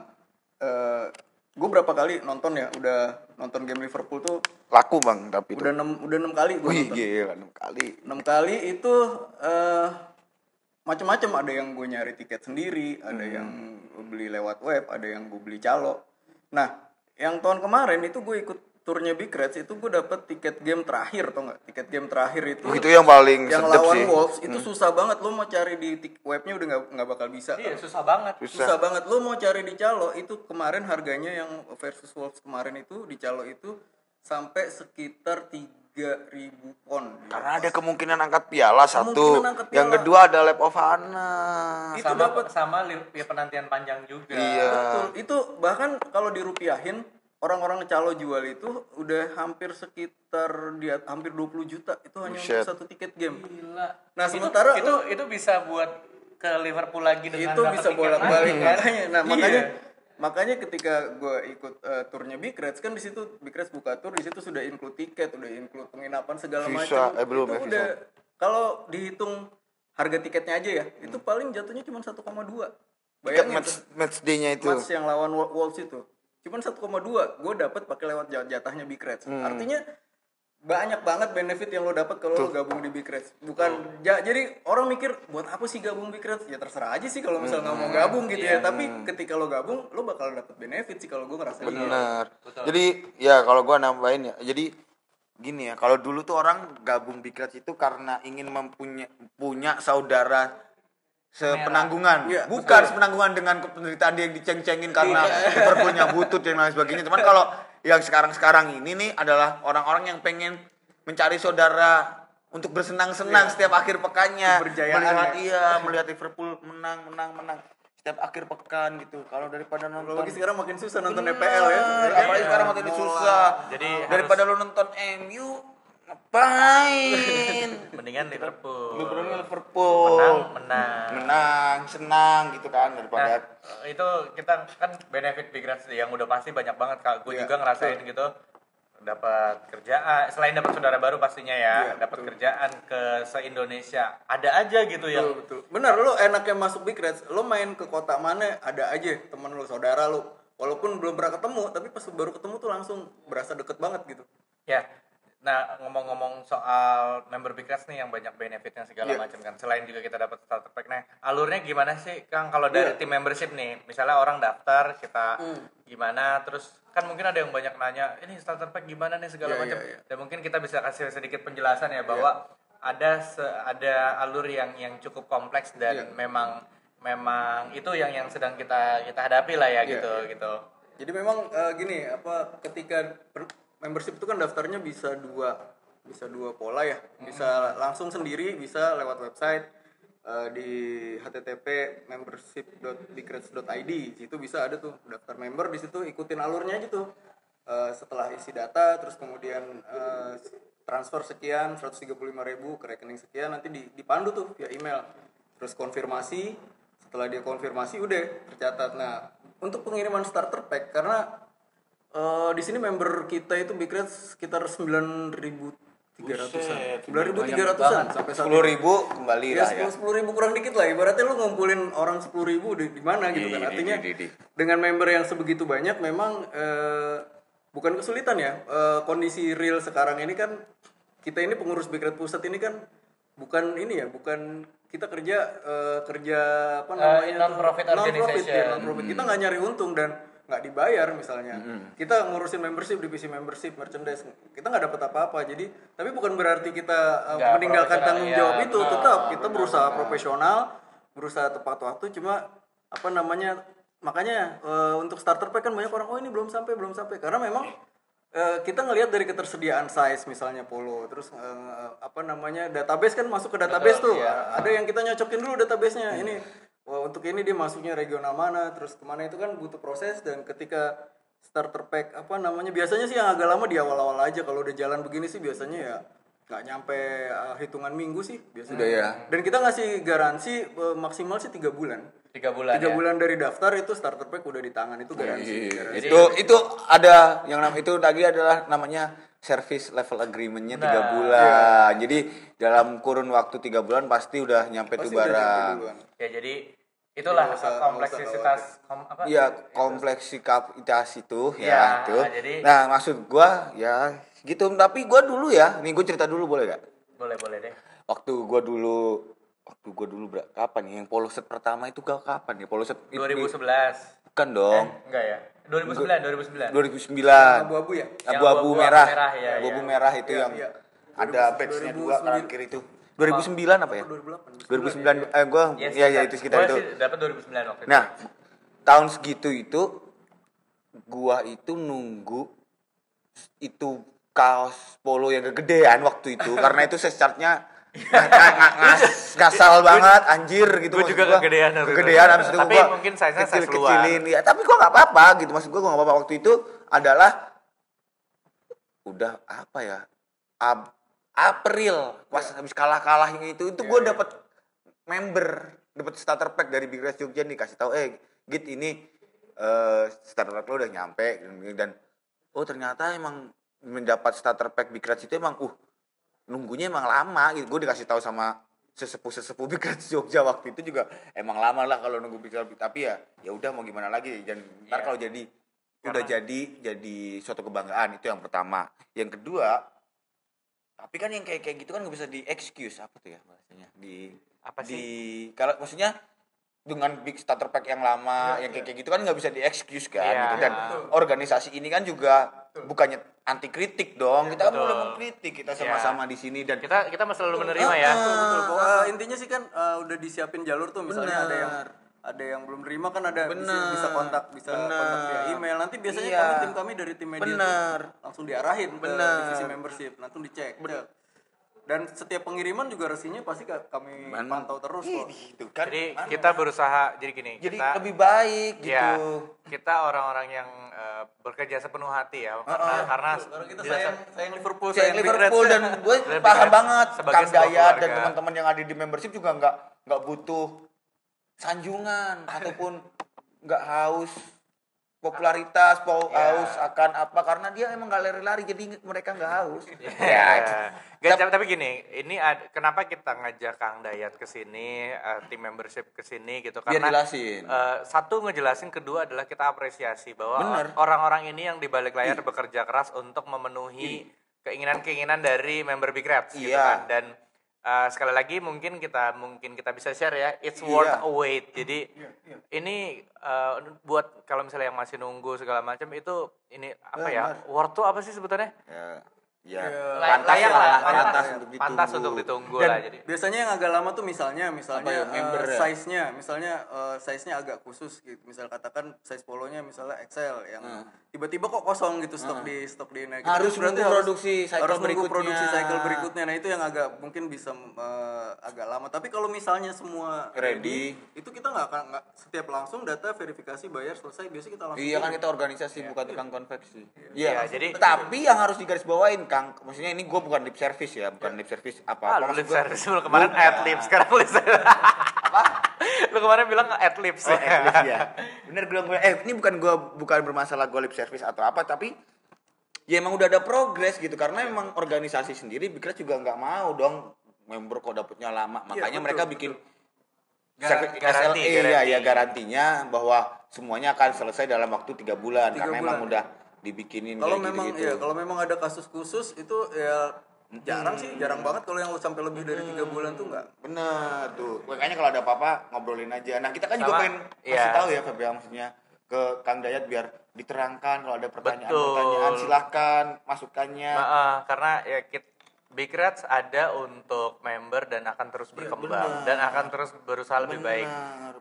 eh gue berapa kali nonton ya udah nonton game Liverpool tuh
Laku Bang tapi tuh.
udah enam udah enam kali gue
Gitu. Wih
nonton
gila enam kali.
enam kali itu eh macam-macam ada yang gue nyari tiket sendiri ada
Hmm.
yang beli lewat web ada yang gue beli calo nah yang tahun kemarin itu gue ikut turnya Big Reds itu gue dapet tiket game terakhir tau nggak tiket game terakhir itu
Itu yang paling
yang
sedep
lawan
sih. Hmm.
Wolves itu susah banget lo mau cari di tik- webnya udah nggak nggak bakal bisa
iya susah banget
Susah.
susah banget lo mau cari di calo itu kemarin harganya yang versus Wolves kemarin itu di calo itu sampai sekitar 3000 pon
Karena ada kemungkinan angkat piala satu,
Kemungkinan angkat
yang
piala.
kedua ada Lab of Hana.
itu
sama
dapat
sama li- ya, penantian panjang juga
Iya.
betul itu bahkan kalau dirupiahin orang-orang calo jual itu udah hampir sekitar di at- hampir 20 juta itu hanya untuk
Buset.
satu tiket game
Gila.
nah
Iya. Itu-
sementara
itu
lu-
itu bisa buat ke Liverpool lagi dengan
itu
dapat
bisa
tiket
bolak balik
lagi, kan?
makanya nah makanya makanya ketika gue ikut eh, turnya Big Reds kan di situ Big Reds buka tur di situ sudah include tiket udah include penginapan segala
Visa,
macam
eh, belum
itu
ya, visa.
udah kalau dihitung harga tiketnya aja ya itu paling jatuhnya cuma 1,2
Tiket
bayangin
match
tuh,
match day-nya itu.
match yang lawan Wol- Wolves itu cuman 1,2 gue dapat pakai lewat jat- jatahnya Big Reds artinya banyak banget benefit yang lo dapat kalau lo gabung di Big Reds. Bukan ja- jadi orang mikir buat apa sih gabung Big Reds? Ya terserah aja sih kalau misal nggak mau gabung gitu ya. Tapi ketika lo gabung, lo bakal dapat benefit sih kalau gitu. gue ngerasain.
Bener. Jadi ya kalau gua nambahin ya. Jadi gini ya, kalau dulu tuh orang gabung Big Reds itu karena ingin mempunyai punya saudara sepenanggungan.
Iya,
Bukan sepenanggungan dengan penderitaan dia yang diceng-cengin karena Liverpoolnya butut dan lain sebagainya. Cuman kalau yang sekarang-sekarang ini nih adalah orang-orang yang pengen mencari saudara untuk bersenang-senang setiap akhir pekannya
Keberjayaan
melihat iya melihat Liverpool menang menang menang setiap akhir pekan gitu kalau daripada nonton
Apalagi sekarang makin susah nonton
Bener,
EPL ya.
Apalagi sekarang materi susah.
Jadi
daripada lu nonton MU ngapain?
mendingan Liverpool
Liverpool.
menang menang menang.
menang senang gitu kan
Nah,
daripada
itu kita kan benefit big Reds yang udah pasti banyak banget
Iya,
kak. Gue juga ngerasain gitu dapat kerjaan selain dapat saudara baru pastinya
Iya,
ya dapat kerjaan ke se Indonesia ada aja gitu yang
Betul, betul. Benar, lu enaknya masuk Big Reds, lu main ke kota mana ada aja temen lu, saudara lu. Walaupun belum pernah ketemu, tapi pas baru ketemu tuh langsung berasa deket banget gitu.
Ya. Nah, ngomong-ngomong soal member Bikers nih yang banyak benefitnya segala
Iya.
macam kan. Selain juga kita dapat starter pack nah, alurnya gimana sih Kang kalau
Iya.
dari tim membership nih? Misalnya orang daftar kita
Hmm.
gimana terus kan mungkin ada yang banyak nanya, ini starter pack gimana nih segala
Iya,
macam.
iya, iya.
Dan mungkin kita bisa kasih sedikit penjelasan ya bahwa ada se- ada alur yang yang cukup kompleks
Iya.
dan memang memang itu yang yang sedang kita kita hadapi lah ya
Iya,
gitu gitu.
Jadi memang eh, gini, apa ketika ber- membership itu kan daftarnya bisa dua bisa dua pola ya. Bisa langsung sendiri, bisa lewat website eh, di http membership.bigreds.id. Di situ bisa ada tuh daftar member, di situ ikutin alurnya aja tuh. Eh, setelah isi data terus kemudian eh, transfer sekian 135.000 ke rekening sekian nanti di- dipandu tuh via email. Terus konfirmasi setelah dia konfirmasi udah tercatat nah untuk pengiriman starter pack karena eh, di sini member kita itu big rate sekitar 9.300an 9.300an sampai saat
sepuluh ribu kembali
ya
lah ya
sepuluh ribu kurang dikit lah ibaratnya lu ngumpulin orang sepuluh ribu di, di mana gitu kan
Iya, iya,
artinya
iya, iya, iya.
dengan member yang sebegitu banyak memang eh, bukan kesulitan ya Eh, kondisi real sekarang ini kan kita ini pengurus Big Red pusat ini kan bukan ini ya bukan kita kerja eh, kerja apa namanya tuh?
non-profit
Iya, Non-profit, ya,
organization. Hmm.
non-profit. kita nggak nyari untung dan nggak dibayar misalnya kita ngurusin membership divisi membership merchandise kita nggak dapat apa-apa jadi tapi bukan berarti kita eh,
Nggak
meninggalkan
profesional,
tanggung
iya,
jawab itu tetap kita berusaha profesional berusaha tepat waktu cuma apa namanya makanya eh, untuk starter pack kan banyak orang oh ini belum sampai belum sampai karena memang eh, kita ngelihat dari ketersediaan size misalnya polo terus eh, apa namanya database kan masuk ke database tuh
iya.
ada yang kita nyocokin dulu
Hmm.
databasenya ini wah, untuk ini dia masuknya regional mana terus kemana itu kan butuh proses dan ketika starter pack apa namanya biasanya sih yang agak lama di awal-awal aja kalau udah jalan begini sih biasanya ya nggak nyampe uh, hitungan minggu sih biasanya
Udah ya.
dan kita ngasih garansi uh, maksimal sih tiga bulan
Tiga bulan.
tiga
ya.
bulan dari daftar itu starter pack udah di tangan itu garansi
Iya, itu itu ada yang nam itu tadi adalah namanya service level agreementnya tiga bulan jadi dalam kurun waktu tiga bulan pasti udah nyampe tuh
Pasti udah nyampe
barang
duluan.
Ya jadi itulah
Nggak usah- nggak usah
kompleksitas kom, apa?
Iya, kompleksitas itu
Ya,
ya, itu.
jadi-
Nah, maksud gua ya gitu. Tapi gua dulu ya, nih gua cerita dulu boleh gak?
Boleh boleh deh.
Waktu gua dulu waktu gua dulu berapa kapan ya? Yang polo set pertama itu gua kapan ya? Polo set itu
2011.
bukan dong.
Enggak ya? 2009, 2009.
2009.
abu-abu ya
Abu-abu
abu-abu
merah.
merah, ya,
Abu-abu
ya.
merah itu yang
iya.
ada patch-nya dua kanan kiri itu. 2009 apa ya?
2008
2009 eh gua
Yes,
ya ya
Iya, sekitar.
itu sekitar
Gua
itu.
sih dapat 2009 waktu itu.
Nah, tahun segitu itu gua itu nunggu itu kaos polo yang gedean waktu itu karena itu sesarnya kasal banget anjir gitu
gua
maksud
juga
gua.
kegedean waktu itu.
kegedean habis itu
Tapi
gua
mungkin size-nya size
kecil-kecilin ya tapi gua nggak apa-apa gitu maksud gua gua nggak apa-apa waktu itu adalah udah apa ya Ab- April pas habis kalah-kalah itu itu gue dapet member dapet starter pack dari Big Reds Jogja nih kasih tahu eh git ini eh, starter pack lo udah nyampe dan oh ternyata emang mendapat starter pack Big Reds itu emang uh nunggunya emang lama gitu gue dikasih tahu sama sesepuh sesepuh Big Reds Jogja waktu itu juga emang lama lah kalau nunggu Big Reds tapi ya ya udah mau gimana lagi dan
Iya.
ntar kalau jadi udah jadi jadi suatu kebanggaan itu yang pertama yang kedua tapi kan yang kayak kayak gitu kan nggak bisa di excuse apa tuh ya bahasanya di
Apa sih?
di kalau maksudnya dengan big starter pack yang lama yang kayak kayak gitu kan nggak bisa di excuse kan
Iya.
gitu. dan organisasi ini kan juga bukannya anti kritik dong kita kan
Iya,
boleh mengkritik kita sama-sama di sini dan
Kita kita masih selalu menerima
Ah,
ya.
Betul, betul. Bahwa, eh, intinya sih kan eh, udah disiapin jalur tuh misalnya ada yang ada yang belum terima kan ada bisa,
Bener.
bisa kontak bisa kontak via email nanti biasanya
Iya.
kami tim kami dari tim media tuh
Bener.
langsung diarahin
Bener.
ke divisi membership langsung dicek Cek. Nah, Dan setiap pengiriman juga resinya pasti ka- kami
Man.
pantau terus kok.
Itu kan.
Jadi kita berusaha jadi gini,
jadi
kita
lebih baik gitu.
ya, kita orang-orang yang eh, bekerja sepenuh hati
Ah,
ya, karena karena
Karena kita
dirasa-
sayang sayang Liverpool,
Saya
Big
Liverpool
Reds.
dan gue
ya. Lebih
paham
baik
banget
sebagai
Kang
sebuah
Dayat dan
keluarga.
teman-teman yang ada di membership juga nggak nggak butuh sanjungan ataupun nggak haus popularitas, mau
Iya.
haus akan apa karena dia emang nggak lari-lari jadi mereka nggak haus. Iya.
Ya. Nggak, tapi- tapi gini, ini ad- kenapa kita ngajak Kang Dayat ke sini, eh, tim membership ke sini gitu
Biar
karena
jelasin.
eh, satu ngejelasin, kedua adalah kita apresiasi bahwa
Bener.
orang-orang ini yang di balik layar bekerja keras untuk memenuhi keinginan-keinginan dari member Big Reds gitu
Iya.
kan. Dan eh, sekali lagi mungkin kita mungkin kita bisa share ya, it's worth
Iya.
a wait. Jadi ini eh, buat kalau misalnya yang masih nunggu segala macam itu ini apa ya? Worth to apa sih sebetulnya?
ya, ya,
Lay- layak
lah,
lah,
pantas,
Iya. pantas,
untuk ditunggu.
pantas untuk ditunggu lah jadi.
Biasanya yang agak lama tuh misalnya misalnya
Apa ya,
eh,
member ya?
size-nya, misalnya eh, size-nya agak khusus gitu. Misal katakan size polonya misalnya XL yang tiba-tiba kok kosong gitu stok di stok di nah, gitu.
Nah. Harus
Itu berarti
nunggu produksi cycle
harus nunggu
berikutnya.
produksi cycle berikutnya. Nah, itu yang agak mungkin bisa eh, agak lama. Tapi kalau misalnya semua
Ready.
itu kita nggak akan nggak- setiap langsung data verifikasi bayar selesai biasanya kita langsung
Iya kan kita organisasi bukan tukang konveksi. Iya.
Iya, jadi-
tapi yang harus digarisbawain Kang, maksudnya ini gue bukan lip service ya, bukan lip service
Ah,
apa
lu
apa.
lip service lu kemarin ad lib sekarang lu apa? Lu kemarin bilang ad libs.
Oh, ad-libs ya. Bener gue eh ini bukan gue bukan bermasalah gue lip service atau apa, tapi ya emang udah ada progres gitu karena emang organisasi sendiri Big Red juga nggak mau dong member kok dapetnya lama,
Iya,
makanya mereka bikin
Gar-
service SLA,
garanti, garanti.
ya, ya garantinya bahwa semuanya akan selesai dalam waktu tiga bulan
Tiga
karena emang
bulan.
udah dibikinin
kalau
kayak
memang
gitu-gitu.
ya kalau memang ada kasus khusus itu ya jarang sih jarang banget kalau yang sampai lebih dari tiga bulan tuh nggak
Bener tuh. Makanya kalau ada apa-apa ngobrolin aja. Nah, kita kan juga
Sama,
pengen kasih
iya.
tahu ya Febri maksudnya ke Kang Dayat biar diterangkan kalau ada pertanyaan-pertanyaan
Betul.
silahkan masukkannya.
Nah, eh, karena ya kit- Big Reds ada untuk member dan akan terus berkembang dan akan terus berusaha lebih baik.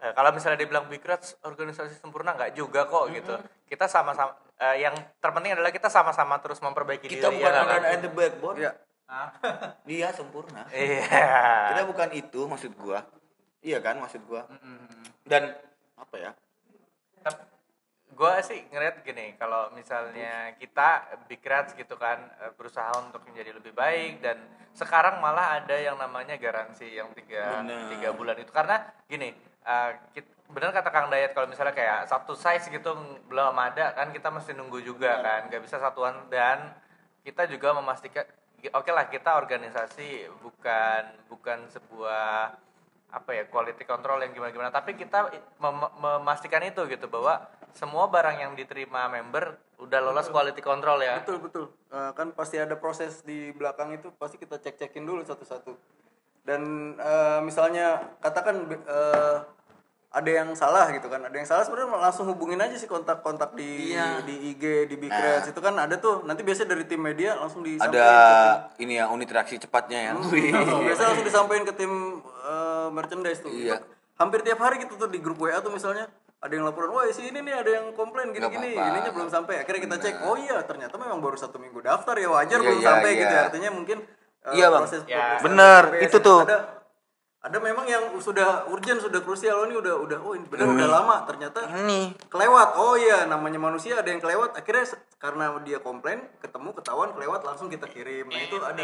Eh, kalau misalnya dibilang Big Reds organisasi sempurna nggak juga kok gitu. Kita sama-sama eh, yang terpenting adalah kita sama-sama terus memperbaiki
kita
diri.
bukan
ya nggak,
ada
Kang?
at the backboard.
Iya.
Dia sempurna.
Iya.
Kita bukan itu maksud gua. Iya kan maksud gua. Dan apa ya?
gue sih ngeliat gini kalau misalnya kita big rats gitu kan eh, berusaha untuk menjadi lebih baik dan sekarang malah ada yang namanya garansi yang tiga
Bener.
tiga bulan itu karena gini eh, kit- bener kata kang dayat kalau misalnya kayak satu size gitu ng- belum ada kan kita mesti nunggu juga kan nggak bisa satuan dan kita juga memastikan oke lah kita organisasi bukan bukan sebuah apa ya quality control yang gimana gimana tapi kita i- mem- memastikan itu gitu bahwa semua barang yang diterima member udah lolos quality control ya
betul betul Eh, kan pasti ada proses di belakang itu pasti kita cek cekin dulu satu-satu dan eh, misalnya katakan eh, ada yang salah gitu kan ada yang salah sebenarnya langsung hubungin aja sih kontak-kontak di di IG di Big Reds. itu kan ada tuh nanti biasanya dari tim media langsung
Ada
disampaikan
ini ya unit reaksi cepatnya ya.
biasa langsung disampaikan ke tim eh, merchandise tuh.
Iya.
Hampir tiap hari kita tuh di grup WA tuh misalnya ada yang laporan, wah si ini nih ada yang komplain gini-gini,
apa-apa.
ininya belum sampai. Akhirnya kita cek, oh iya ternyata memang baru satu minggu daftar ya wajar
Iya,
belum
iya,
sampai
iya.
gitu. Artinya mungkin eh,
Iya, Bang.
proses
Ya.
progres-
Bener,
progres
itu tuh.
Ada, ada memang yang sudah urgent, sudah krusial, oh ini udah udah, oh ini benar udah lama. Ternyata
Nih.
kelewat. Oh iya namanya manusia ada yang kelewat. Akhirnya se- karena dia komplain, ketemu ketahuan kelewat langsung kita kirim. Nah itu ada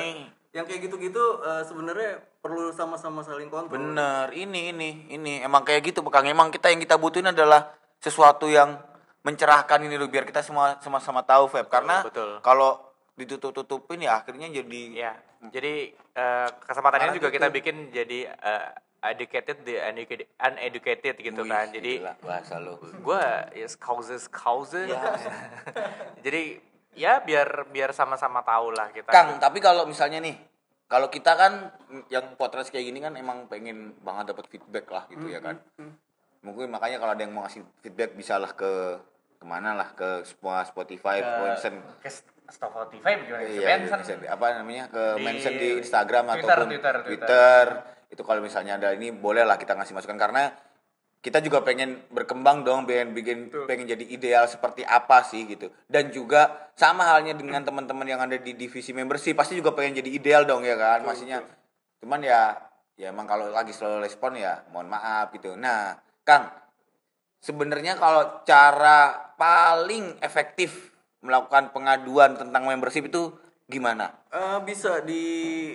yang kayak gitu-gitu eh, sebenarnya perlu sama-sama saling kontrol.
Bener, ini ini ini emang kayak gitu Kang. Emang kita yang kita butuhin adalah sesuatu yang mencerahkan ini loh biar kita semua sama-sama tahu Feb karena
betul.
kalau ditutup-tutupin ya akhirnya jadi
ya jadi eh, kesempatan ini juga
gitu.
kita bikin jadi eh, educated di uneducated, uneducated gitu kan jadi
bahasa lo.
gue yes causes causes
Ya.
jadi ya biar biar sama-sama tahu lah kita
Kang, tapi kalau misalnya nih kalau kita kan yang podcast kayak gini kan emang pengen banget dapat feedback lah gitu ya kan. Mungkin makanya kalau ada yang mau ngasih feedback bisalah ke kemana lah ke semua Spotify, Poinsen,
ke Spotify gimana
Iya,
Benson.
bisa di- apa namanya ke
Di-
mention di Instagram
Twitter,
ataupun Twitter,
Twitter, Twitter.
itu kalau misalnya ada ini bolehlah kita ngasih masukan karena kita juga pengen berkembang dong pengen bikin pengen jadi ideal seperti apa sih gitu dan juga sama halnya dengan teman-teman yang ada di divisi membership pasti juga pengen jadi ideal dong ya kan maksudnya cuman ya ya emang kalau lagi slow respon ya mohon maaf gitu nah Kang sebenarnya kalau cara paling efektif melakukan pengaduan tentang membership itu gimana
Eh, bisa di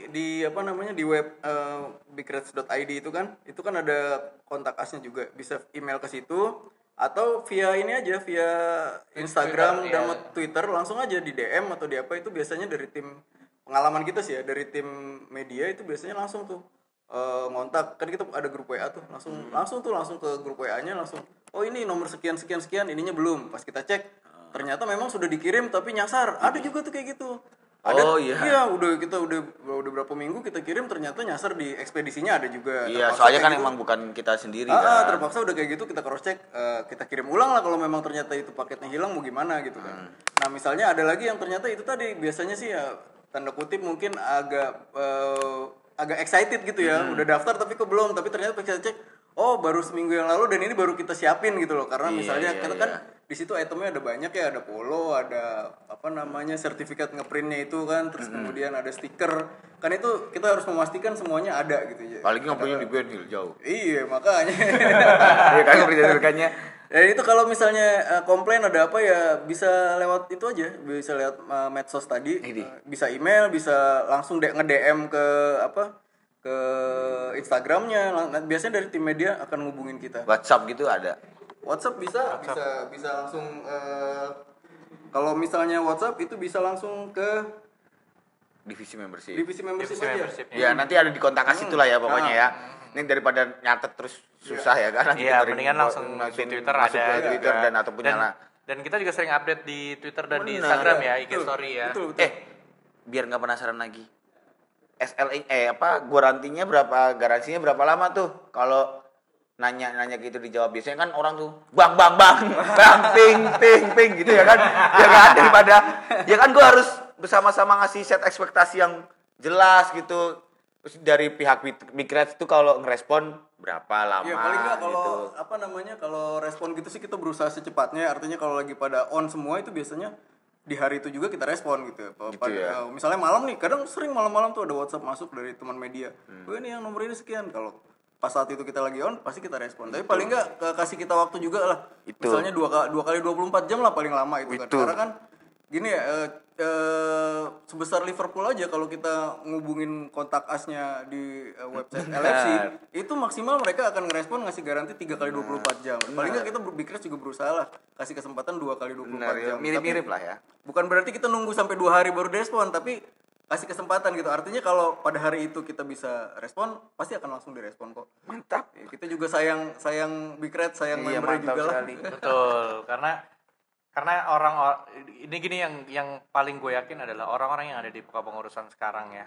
di apa namanya di web eh, bigreds.id itu kan itu kan ada kontak asnya juga bisa email ke situ atau via ini aja via Instagram dan
iya.
Twitter langsung aja di DM atau di apa itu biasanya dari tim pengalaman kita sih ya dari tim media itu biasanya langsung tuh eh, ngontak kan kita ada grup WA tuh langsung
Hmm.
langsung tuh langsung ke grup WA-nya langsung oh ini nomor sekian sekian sekian ininya belum pas kita cek ternyata memang sudah dikirim tapi nyasar ada juga tuh kayak gitu ada,
Hmm. Oh, iya.
udah kita udah udah berapa minggu kita kirim ternyata nyasar di ekspedisinya ada juga.
Iya,
Terpaksa
soalnya
kayak
kan
gitu.
emang bukan kita
Ah,
sendiri
ah,
kan.
terpaksa udah kayak gitu kita cross check eh, kita kirim ulang lah kalau memang ternyata itu paketnya hilang mau gimana gitu
Hmm.
kan. Nah, misalnya ada lagi yang ternyata itu tadi biasanya sih ya tanda kutip mungkin agak eh, agak excited gitu ya,
Hmm.
udah daftar tapi kok belum, tapi ternyata pas kita cek oh baru seminggu yang lalu dan ini baru kita siapin gitu loh
Iya,
karena misalnya kita kan di situ itemnya ada banyak ya ada polo ada apa namanya sertifikat ngeprintnya itu kan terus
Hmm.
kemudian ada stiker kan itu kita harus memastikan semuanya ada gitu ya
Apalagi ngapain di Ben Hill jauh.
iya makanya
Iya kan kerja-kerjanya.
Ya itu kalau misalnya eh, komplain ada apa ya bisa lewat itu aja, bisa lewat eh, medsos tadi, Eh, bisa email, bisa langsung de- nge-DM ke apa ke Instagramnya. Lang- nah, Biasanya dari tim media akan ngubungin kita.
WhatsApp gitu ada.
WhatsApp bisa, bisa bisa langsung eh, kalau misalnya WhatsApp itu bisa langsung ke
Divisi membership.
divisi
Iya,
Hmm. membership aja.
Ya, nanti ada di kontak as itulah ya pokoknya ya. Ini daripada nyatet
Iya.
terus susah ya kan.
Iya, mendingan langsung di Twitter
masuk
ada
ke Twitter
juga.
dan ataupun
Dan-
nyala.
Dan kita juga sering update di Twitter dan di
Benar.
Instagram ya,
Iya.
IG
Betul,
story ya.
Betul, betul.
Eh, biar nggak penasaran lagi. SLA eh apa garantinya berapa garansinya berapa lama tuh kalau nanya-nanya gitu dijawab biasanya kan orang tuh bang bang bang bang ping ping ping gitu ya kan ya kan daripada ya kan gua harus bersama-sama ngasih set ekspektasi yang jelas gitu Terus dari pihak Big- Big Reds tuh kalau ngerespon berapa lama
Ya paling nggak kalau
gitu
apa namanya kalau respon gitu sih kita berusaha secepatnya. Artinya kalau lagi pada on semua itu biasanya di hari itu juga kita respon gitu. Pa-
Gitu
pada-
ya.
eh, misalnya malam nih, kadang sering malam-malam tuh ada WhatsApp masuk dari teman media.
Hmm.
"Oh, ini yang nomor ini sekian. Kalau pas saat itu kita lagi on pasti kita respon. Tapi paling nggak ke- kasih kita waktu juga lah. Misalnya dua kali dua kali 24 jam lah paling lama itu, kan. Karena kan gini ya eh, eh, sebesar Liverpool aja kalau kita ngubungin kontak asnya di eh, website LFC itu maksimal mereka akan ngerespon ngasih garansi 3 kali 24 jam. Paling nggak kita berpikir juga berusaha lah kasih kesempatan 2 kali 24
Benar, ya,
jam.
mirip-mirip lah ya
Tapi bukan berarti kita nunggu sampai dua hari baru direspon, tapi kasih kesempatan gitu. Artinya kalau pada hari itu kita bisa respon, pasti akan langsung direspon kok.
mantap
Ya, kita juga sayang sayang Big Red, sayang
Iya,
membernya
mantap
juga lah.
sekali.
Betul, karena karena orang or- ini gini yang yang paling gue yakin adalah orang-orang yang ada di kepengurusan sekarang ya.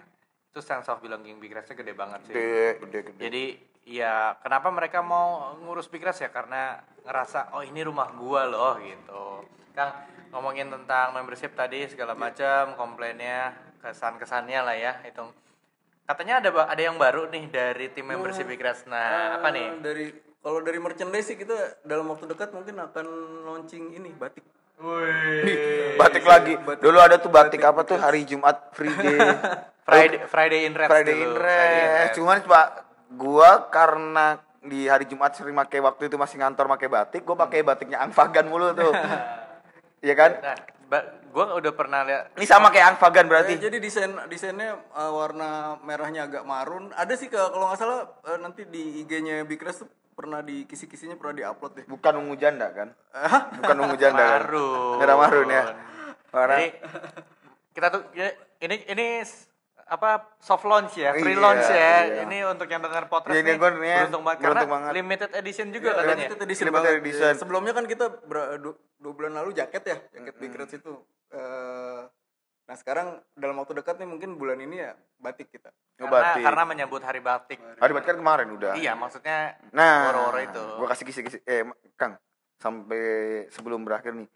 Itu sense of belonging Big Reds-nya gede banget sih. Jadi ya kenapa mereka mau ngurus Bigres ya karena ngerasa oh ini rumah gua loh gitu. Kang ngomongin tentang membership tadi segala macam komplainnya kesan-kesannya lah ya itu. Katanya ada ba- ada yang baru nih dari tim membership Bigres. Nah, apa nih?
Eh, Dari kalau dari merchandise sih kita dalam waktu dekat mungkin akan launching ini batik.
batik
Iya,
lagi dulu ada tuh batik, apa tuh hari Jumat free day
Friday Friday in Reds
Friday
dulu.
in
Friday in
Red.
Reds.
Cuman coba gua karena di hari Jumat sering pakai waktu itu masih ngantor pakai batik, gua pakai batiknya Angfagan mulu tuh. Iya kan?
Nah, ba- gua udah pernah lihat
Ini sama kayak
Eh,
Angfagan
Iya,
berarti.
jadi desain desainnya eh, warna merahnya agak marun. Ada sih ke- kalau nggak salah eh, nanti di IG-nya Big Rest tuh pernah di kisi-kisinya pernah diupload deh.
Bukan ungu janda kan? Bukan ungu janda kan?
Marun.
Merah marun ya. Warna
Jadi kita tuh ini ini s- apa soft launch ya, free
Iya,
launch ya.
iya.
Ini untuk yang dengar podcast
Iya,
ini
gua nih ya,
beruntung banget
beruntung
karena
banget. Iya,
limited edition
Iya,
juga katanya.
Limited edition
Limited
banget.
edition.
Ya, sebelumnya kan kita ber- du- dua bulan lalu jaket ya, jaket Big Reds itu. Eh, nah sekarang dalam waktu dekat nih mungkin bulan ini ya batik kita.
Oh,
Karena,
batik.
karena menyambut hari batik.
Hari batik kan kemarin udah.
Iya, maksudnya
Nah,
woro-woro itu.
gua kasih kisi-kisi eh Ma- Kang sampai sebelum berakhir nih.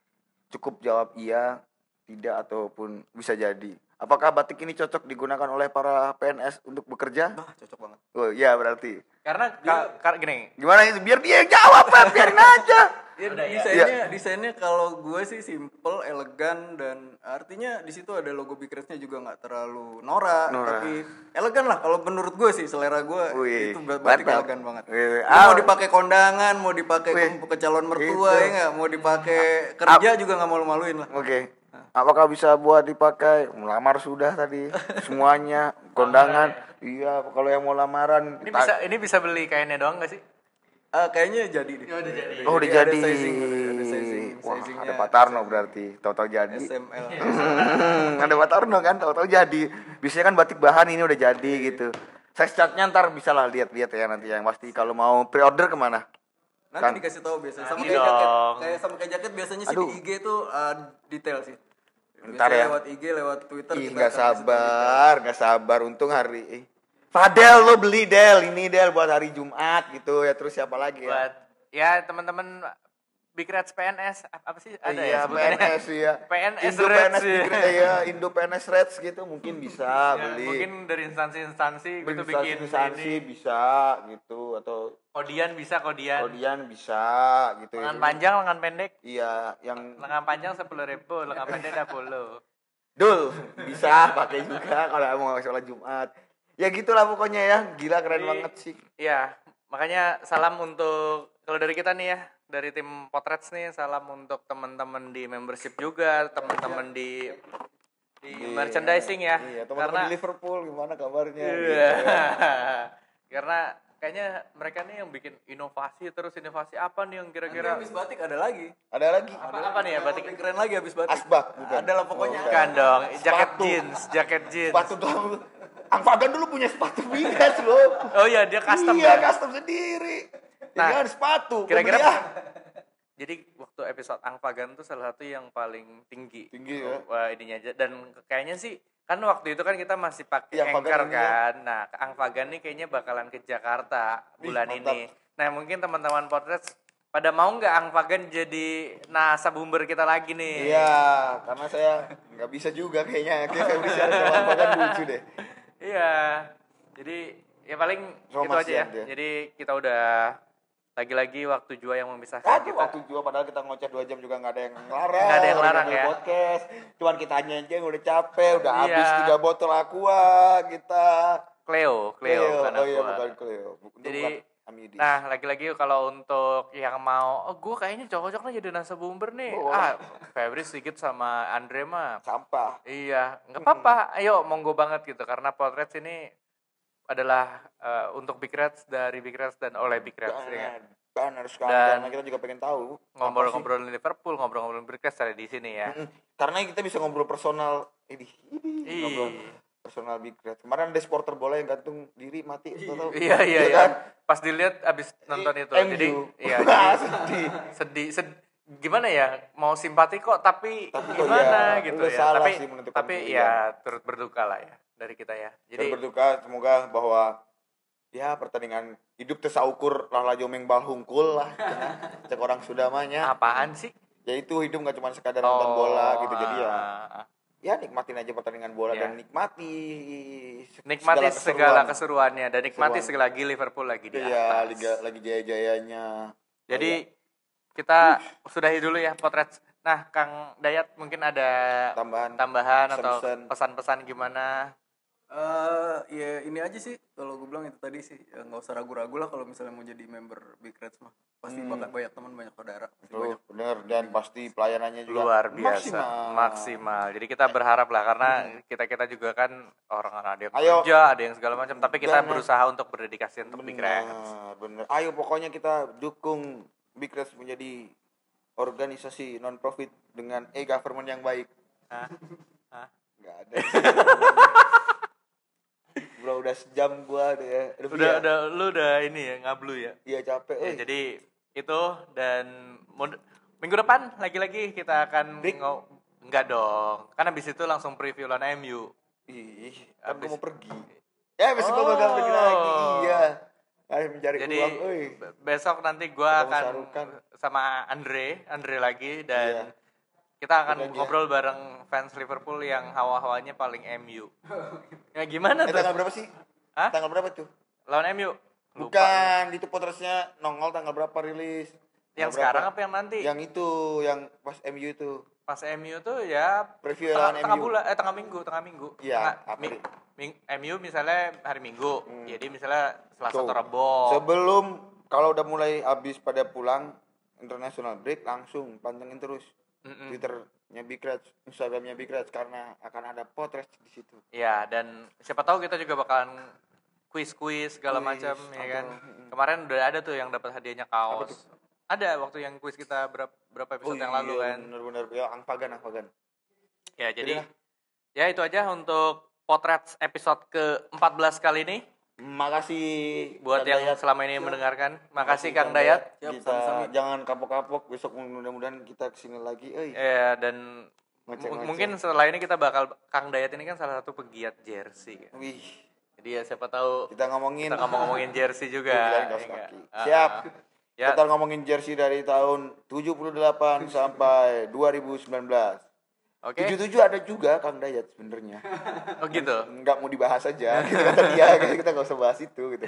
Cukup jawab iya, tidak ataupun bisa jadi. Apakah batik ini cocok digunakan oleh para PNS untuk bekerja?
Bah, Ah, cocok banget.
Oh iya berarti
Karena ka- kar- gini,
Gimana itu? Biar dia yang jawab, Pep. Biarin aja.
Ya,
Iya.
desainnya desainnya kalau gue sih simple, elegan dan artinya di situ ada logo Big Reds-nya juga nggak terlalu norak, tapi elegan lah kalau menurut gue sih selera gue
Wih,
itu ber- batik
mantap.
elegan banget.
Wih,
Lu
ah.
mau dipakai kondangan, mau dipakai
Wih, Ah.
ke, ke calon mertua
gitu.
ya nggak, mau dipakai kerja juga nggak malu-maluin lah.
Oke. Apakah bisa buat dipakai? Melamar sudah tadi. Semuanya kondangan. Iya, kalau yang mau lamaran
ini
tak-
bisa ini bisa beli kainnya doang gak sih?
Ah, kayaknya jadi deh.
Oh, udah jadi.
Iya, Ada sizing, ada sizing,
Wah,
sizingnya
ada Pak Tarno berarti. Tahu-tahu jadi.
SML.
Hmm, ada Pak Tarno kan, tahu-tahu jadi. Biasanya kan batik bahan ini udah jadi gitu. Saya catnya ntar bisa lah lihat-lihat ya nanti yang pasti kalau mau pre-order kemana?
Nanti
Kan.
dikasih tahu biasanya sama
Nanti
kayak jaket.
dong.
Kayak sama kayak jaket biasanya sih
Aduh.
di IG tuh uh, detail sih. Biasanya
Ntar ya.
lewat IG, lewat Twitter
Ih,
kita
nggak
akan
ya.
kasih tahu detail.
sabar, nggak sabar. Untung hari eh. Fadel lo beli Del, ini Del buat hari Jumat gitu ya. Terus siapa lagi ya?
Buat ya teman-teman Big Reds PNS ap- apa sih ada
iya,
ya? sebutannya?
PNS ya.
PNS
Indo
Reds,
PNS
iya.
Grade, iya, Indo PNS Reds gitu mungkin bisa
Ya,
beli.
mungkin dari instansi-instansi gitu bikin
instansi
ini.
bisa gitu atau
Kodian bisa kodian.
Kodian bisa gitu.
Lengan panjang, lengan pendek.
Iya, yang
Lengan panjang sepuluh ribu, lengan pendek dah
Dul bisa pakai juga kalau mau sholat Jumat. Ya gitulah pokoknya ya, gila keren
Jadi-
banget sih.
Iya, makanya salam untuk kalau dari kita nih ya, dari tim Potrets nih, salam untuk teman-teman di membership juga, teman-teman di di merchandising ya.
Iya,
karena
teman-teman di ya. Liverpool gimana kabarnya?
Iya. karena kayaknya mereka nih yang bikin inovasi terus inovasi apa nih yang
Nanti
kira-kira
habis batik ada lagi.
Ada lagi
apa, apa nih ya batik
Lebih keren lagi habis batik.
asbak bukan?
Ada lah pokoknya.
Oh,
Bukan dong, jaket
Sepatu.
jeans, jaket jeans.
Sepatu doang. Angfagan dulu punya sepatu bigas loh.
Oh iya, dia custom
iya,
kan?
custom sendiri.
Nah,
Nah, sepatu.
kira-kira-
pembelian.
Jadi waktu episode Angpagan tuh salah satu yang paling tinggi.
Tinggi, ya.
Wah, ininya aja dan kayaknya sih kan waktu itu kan kita masih pakai
Iya, Angpagan
anchor
ini ya.
kan. Nah, ke Angpagan nih kayaknya bakalan ke Jakarta
Ih,
bulan
mantap.
ini. Nah, mungkin teman-teman potret pada mau nggak Angpagan jadi nasab humber kita lagi nih?
Iya, karena saya nggak bisa juga kayaknya. Kayaknya saya bisa sama angfagan lucu deh.
Iya. Jadi ya paling
Sama
gitu aja ya.
siap dia.
Jadi kita udah lagi-lagi waktu jua yang memisahkan
Aduh,
kita.
waktu juga padahal kita ngoceh 2 jam juga nggak ada yang ngelarang.
Kan Nggak ada yang larang,
ngambil
ya.
Podcast. Cuman kita aja yang udah capek, udah
Iya.
habis 3 botol aqua kita.
Cleo, Cleo, bukan
oh iya
aku.
bukan Cleo. Bukan,
Jadi,
bukan Amidi.
Nah, lagi-lagi kalau untuk yang mau, oh, gue kayaknya cocok nih jadi nasa bumber nih.
Boleh.
Ah, Febri sedikit sama Andre mah.
Sampah.
Iya, nggak apa-apa. Ayo, monggo banget gitu. Karena Potret ini adalah eh, untuk Big Reds, dari Big Reds, dan oleh Big Reds. ya nggak?
Banget. Banget sekali.
Dan-
karena kita juga pengen tahu. apa sih.
Ngobrol-ngobrol Liverpool, ngobrol-ngobrol Big Reds ada di sini ya.
Mm-mm. Hmm, Karena kita bisa ngobrol personal. Ini.
Ih.
Ngobrol personal big red. Kemarin ada supporter bola yang gantung diri mati. tahu-tahu.
Iya, iya, iya.
kan?
Pas dilihat abis nonton itu.
MU.
Jadi, iya.
Wah,
jadi-
sedih.
sedih sed- gimana ya mau simpati kok tapi,
Tapi kok ya,
gimana gitu
lu
ya
salah
tapi
sih menentukan
tapi
pilihan.
ya turut berduka lah ya dari kita ya
Jadi
jadi
berduka semoga bahwa ya pertandingan hidup tersaukur lala jomeng bal hungkul lah cenah. cek orang sudah mahnya
apaan sih
ya itu hidup nggak cuma sekadar nonton bola gitu jadi ya
Oh, ah, ah.
ya nikmatin aja pertandingan bola
Ya.
dan nikmati se-
nikmati
keseruan.
segala, keseruannya dan
Keseruan.
nikmati sekali lagi Liverpool lagi di
iya
atas
liga lagi jaya-jayanya Iya,
jadi kita sudahi dulu ya potret nah Kang Dayat mungkin ada
Tambahan.
tambahan atau
Pesan-pesan.
pesan-pesan gimana
Eh, ya ini aja sih kalau gue bilang itu tadi sih ya, nggak usah ragu-ragu lah kalau misalnya mau jadi member Big Reds mah pasti
Hmm.
bakal banyak teman banyak saudara pasti
Tuh, bener dan pasti pelayanannya juga
luar biasa
maksimal.
maksimal. jadi kita berharap lah karena kita kita juga kan orang ada yang
Hmm. Ayo.
kerja ada yang segala macam tapi kita
Benar. Iya.
berusaha untuk berdedikasi untuk "Eh, Big Reds.
Bener, bener. Ayo pokoknya kita dukung Big Reds menjadi organisasi non profit dengan e government yang baik.
Hah? Hah?
Nggak ada. Bro udah sejam gua udah ya. Udah,
udah
ya?
udah lu udah ini ya ngablu ya,
Iya capek.
ya
eh.
jadi itu dan mod- minggu depan lagi-lagi kita akan
Break.
ngo- enggak dong karena habis itu langsung preview lawan MU
Ih, kan
Abis-
gua mau pergi. Ya, besok gua bakal pergi lagi. Iya. Ayo mencari
Oh. jadi
uang, Eh, euy.
be- besok nanti
Ketemu
gua akan
Sarukan.
sama Andre Andre
Iya.
lagi dan kita akan
Udah dia.
ngobrol bareng fans Liverpool yang hawa-hawanya paling MU ya gimana
Eh,
tuh
tanggal berapa sih?
Hah?
Tanggal berapa tuh?
lawan MU
Bukan, itu potresnya nongol tanggal berapa rilis? Tanggal
Yang sekarang
berapa?
apa yang nanti?
Yang itu, yang pas MU itu.
Pas MU tuh ya
Preview
tengah,
lawan
tengah
MU.
bulan eh tengah minggu, tengah minggu.
Iya,
Tengah-
April. Hmm.
mi- ming- MU misalnya hari Minggu. Jadi misalnya Selasa
Tuh.
atau Rebo.
Sebelum kalau udah mulai habis pada pulang international break langsung pantengin terus Twitternya Big Reds, Instagramnya Big Reds karena akan ada potres di situ.
Ya, dan siapa tahu kita juga bakalan kuis-kuis
Kuis,
segala
Hmm.
macam ya
atau-
kan. Kemarin udah ada tuh yang dapat hadiahnya kaos. Ada waktu yang kuis kita berapa, berapa episode yang lalu kan.
Oh iya, Bener-bener ya angpagan angpagan.
Ya, jadi
Yaudah.
ya itu aja untuk potret episode ke-14 kali ini
Makasih
buat
Kang
yang
Dayat. Iya.
selama ini mendengarkan. Makasih Kang Dayat.
Dayat. Kita jangan kapok-kapok besok mudah-mudahan kita kesini lagi. Eh,
Ya, dan
Ngoceh-ngoceh.
mu- mungkin setelah ini kita bakal Kang Dayat ini kan salah satu pegiat jersey kan.
Wih,
Jadi ya siapa tahu
kita ngomongin
kita ngomong ngomongin jersey juga.
Bilang
ya
kaos
nggak?
kaki.
Ah,
Siap.
Ya.
Kita ngomongin jersey dari tahun 78 sampai 2019.
Ah, Oke.
77 ada juga Kang Dayat sebenarnya.
Oh gitu.
Nggak mau dibahas aja. Gitu kata dia, kayaknya kita nggak usah bahas itu gitu.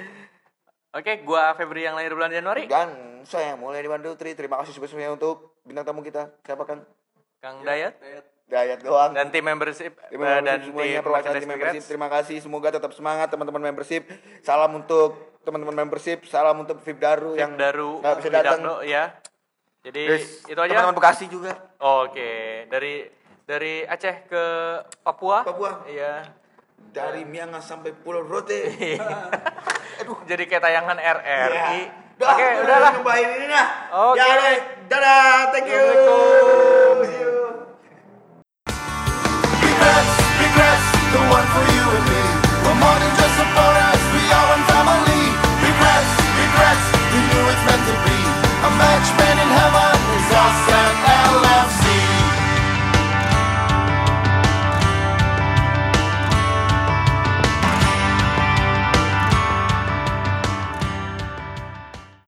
Oke, gua Febri yang lahir bulan Januari.
Dan saya mulai di Bandung Tri. Terima kasih sebesarnya untuk bintang tamu kita. Siapa Kang?
Kang Dayat
Dayat doang.
dan tim membership,
Tim
eh,
Iya. membership
dan
semuanya
tim
perwakilan
merchandise
tim membership.
Migrants.
Terima kasih. Semoga tetap semangat teman-teman membership. Salam untuk teman-teman membership. Salam untuk Vip Daru yang
Daru
nggak bisa datang.
Widakdo, ya. Jadi
Terus
itu aja.
Teman-teman Bekasi juga.
Oke, dari dari Aceh ke Papua.
Papua.
Iya.
Dari Miangas sampai Pulau Rote.
Jadi kayak tayangan RRI.
Iya. Dah,
Oke, Ya udahlah.
Ngebahin ini nah.
Oke.
Ya, deh. dadah. Thank you. See you.
Big Reds, Big Reds, the one for you and me. We're more than just a photo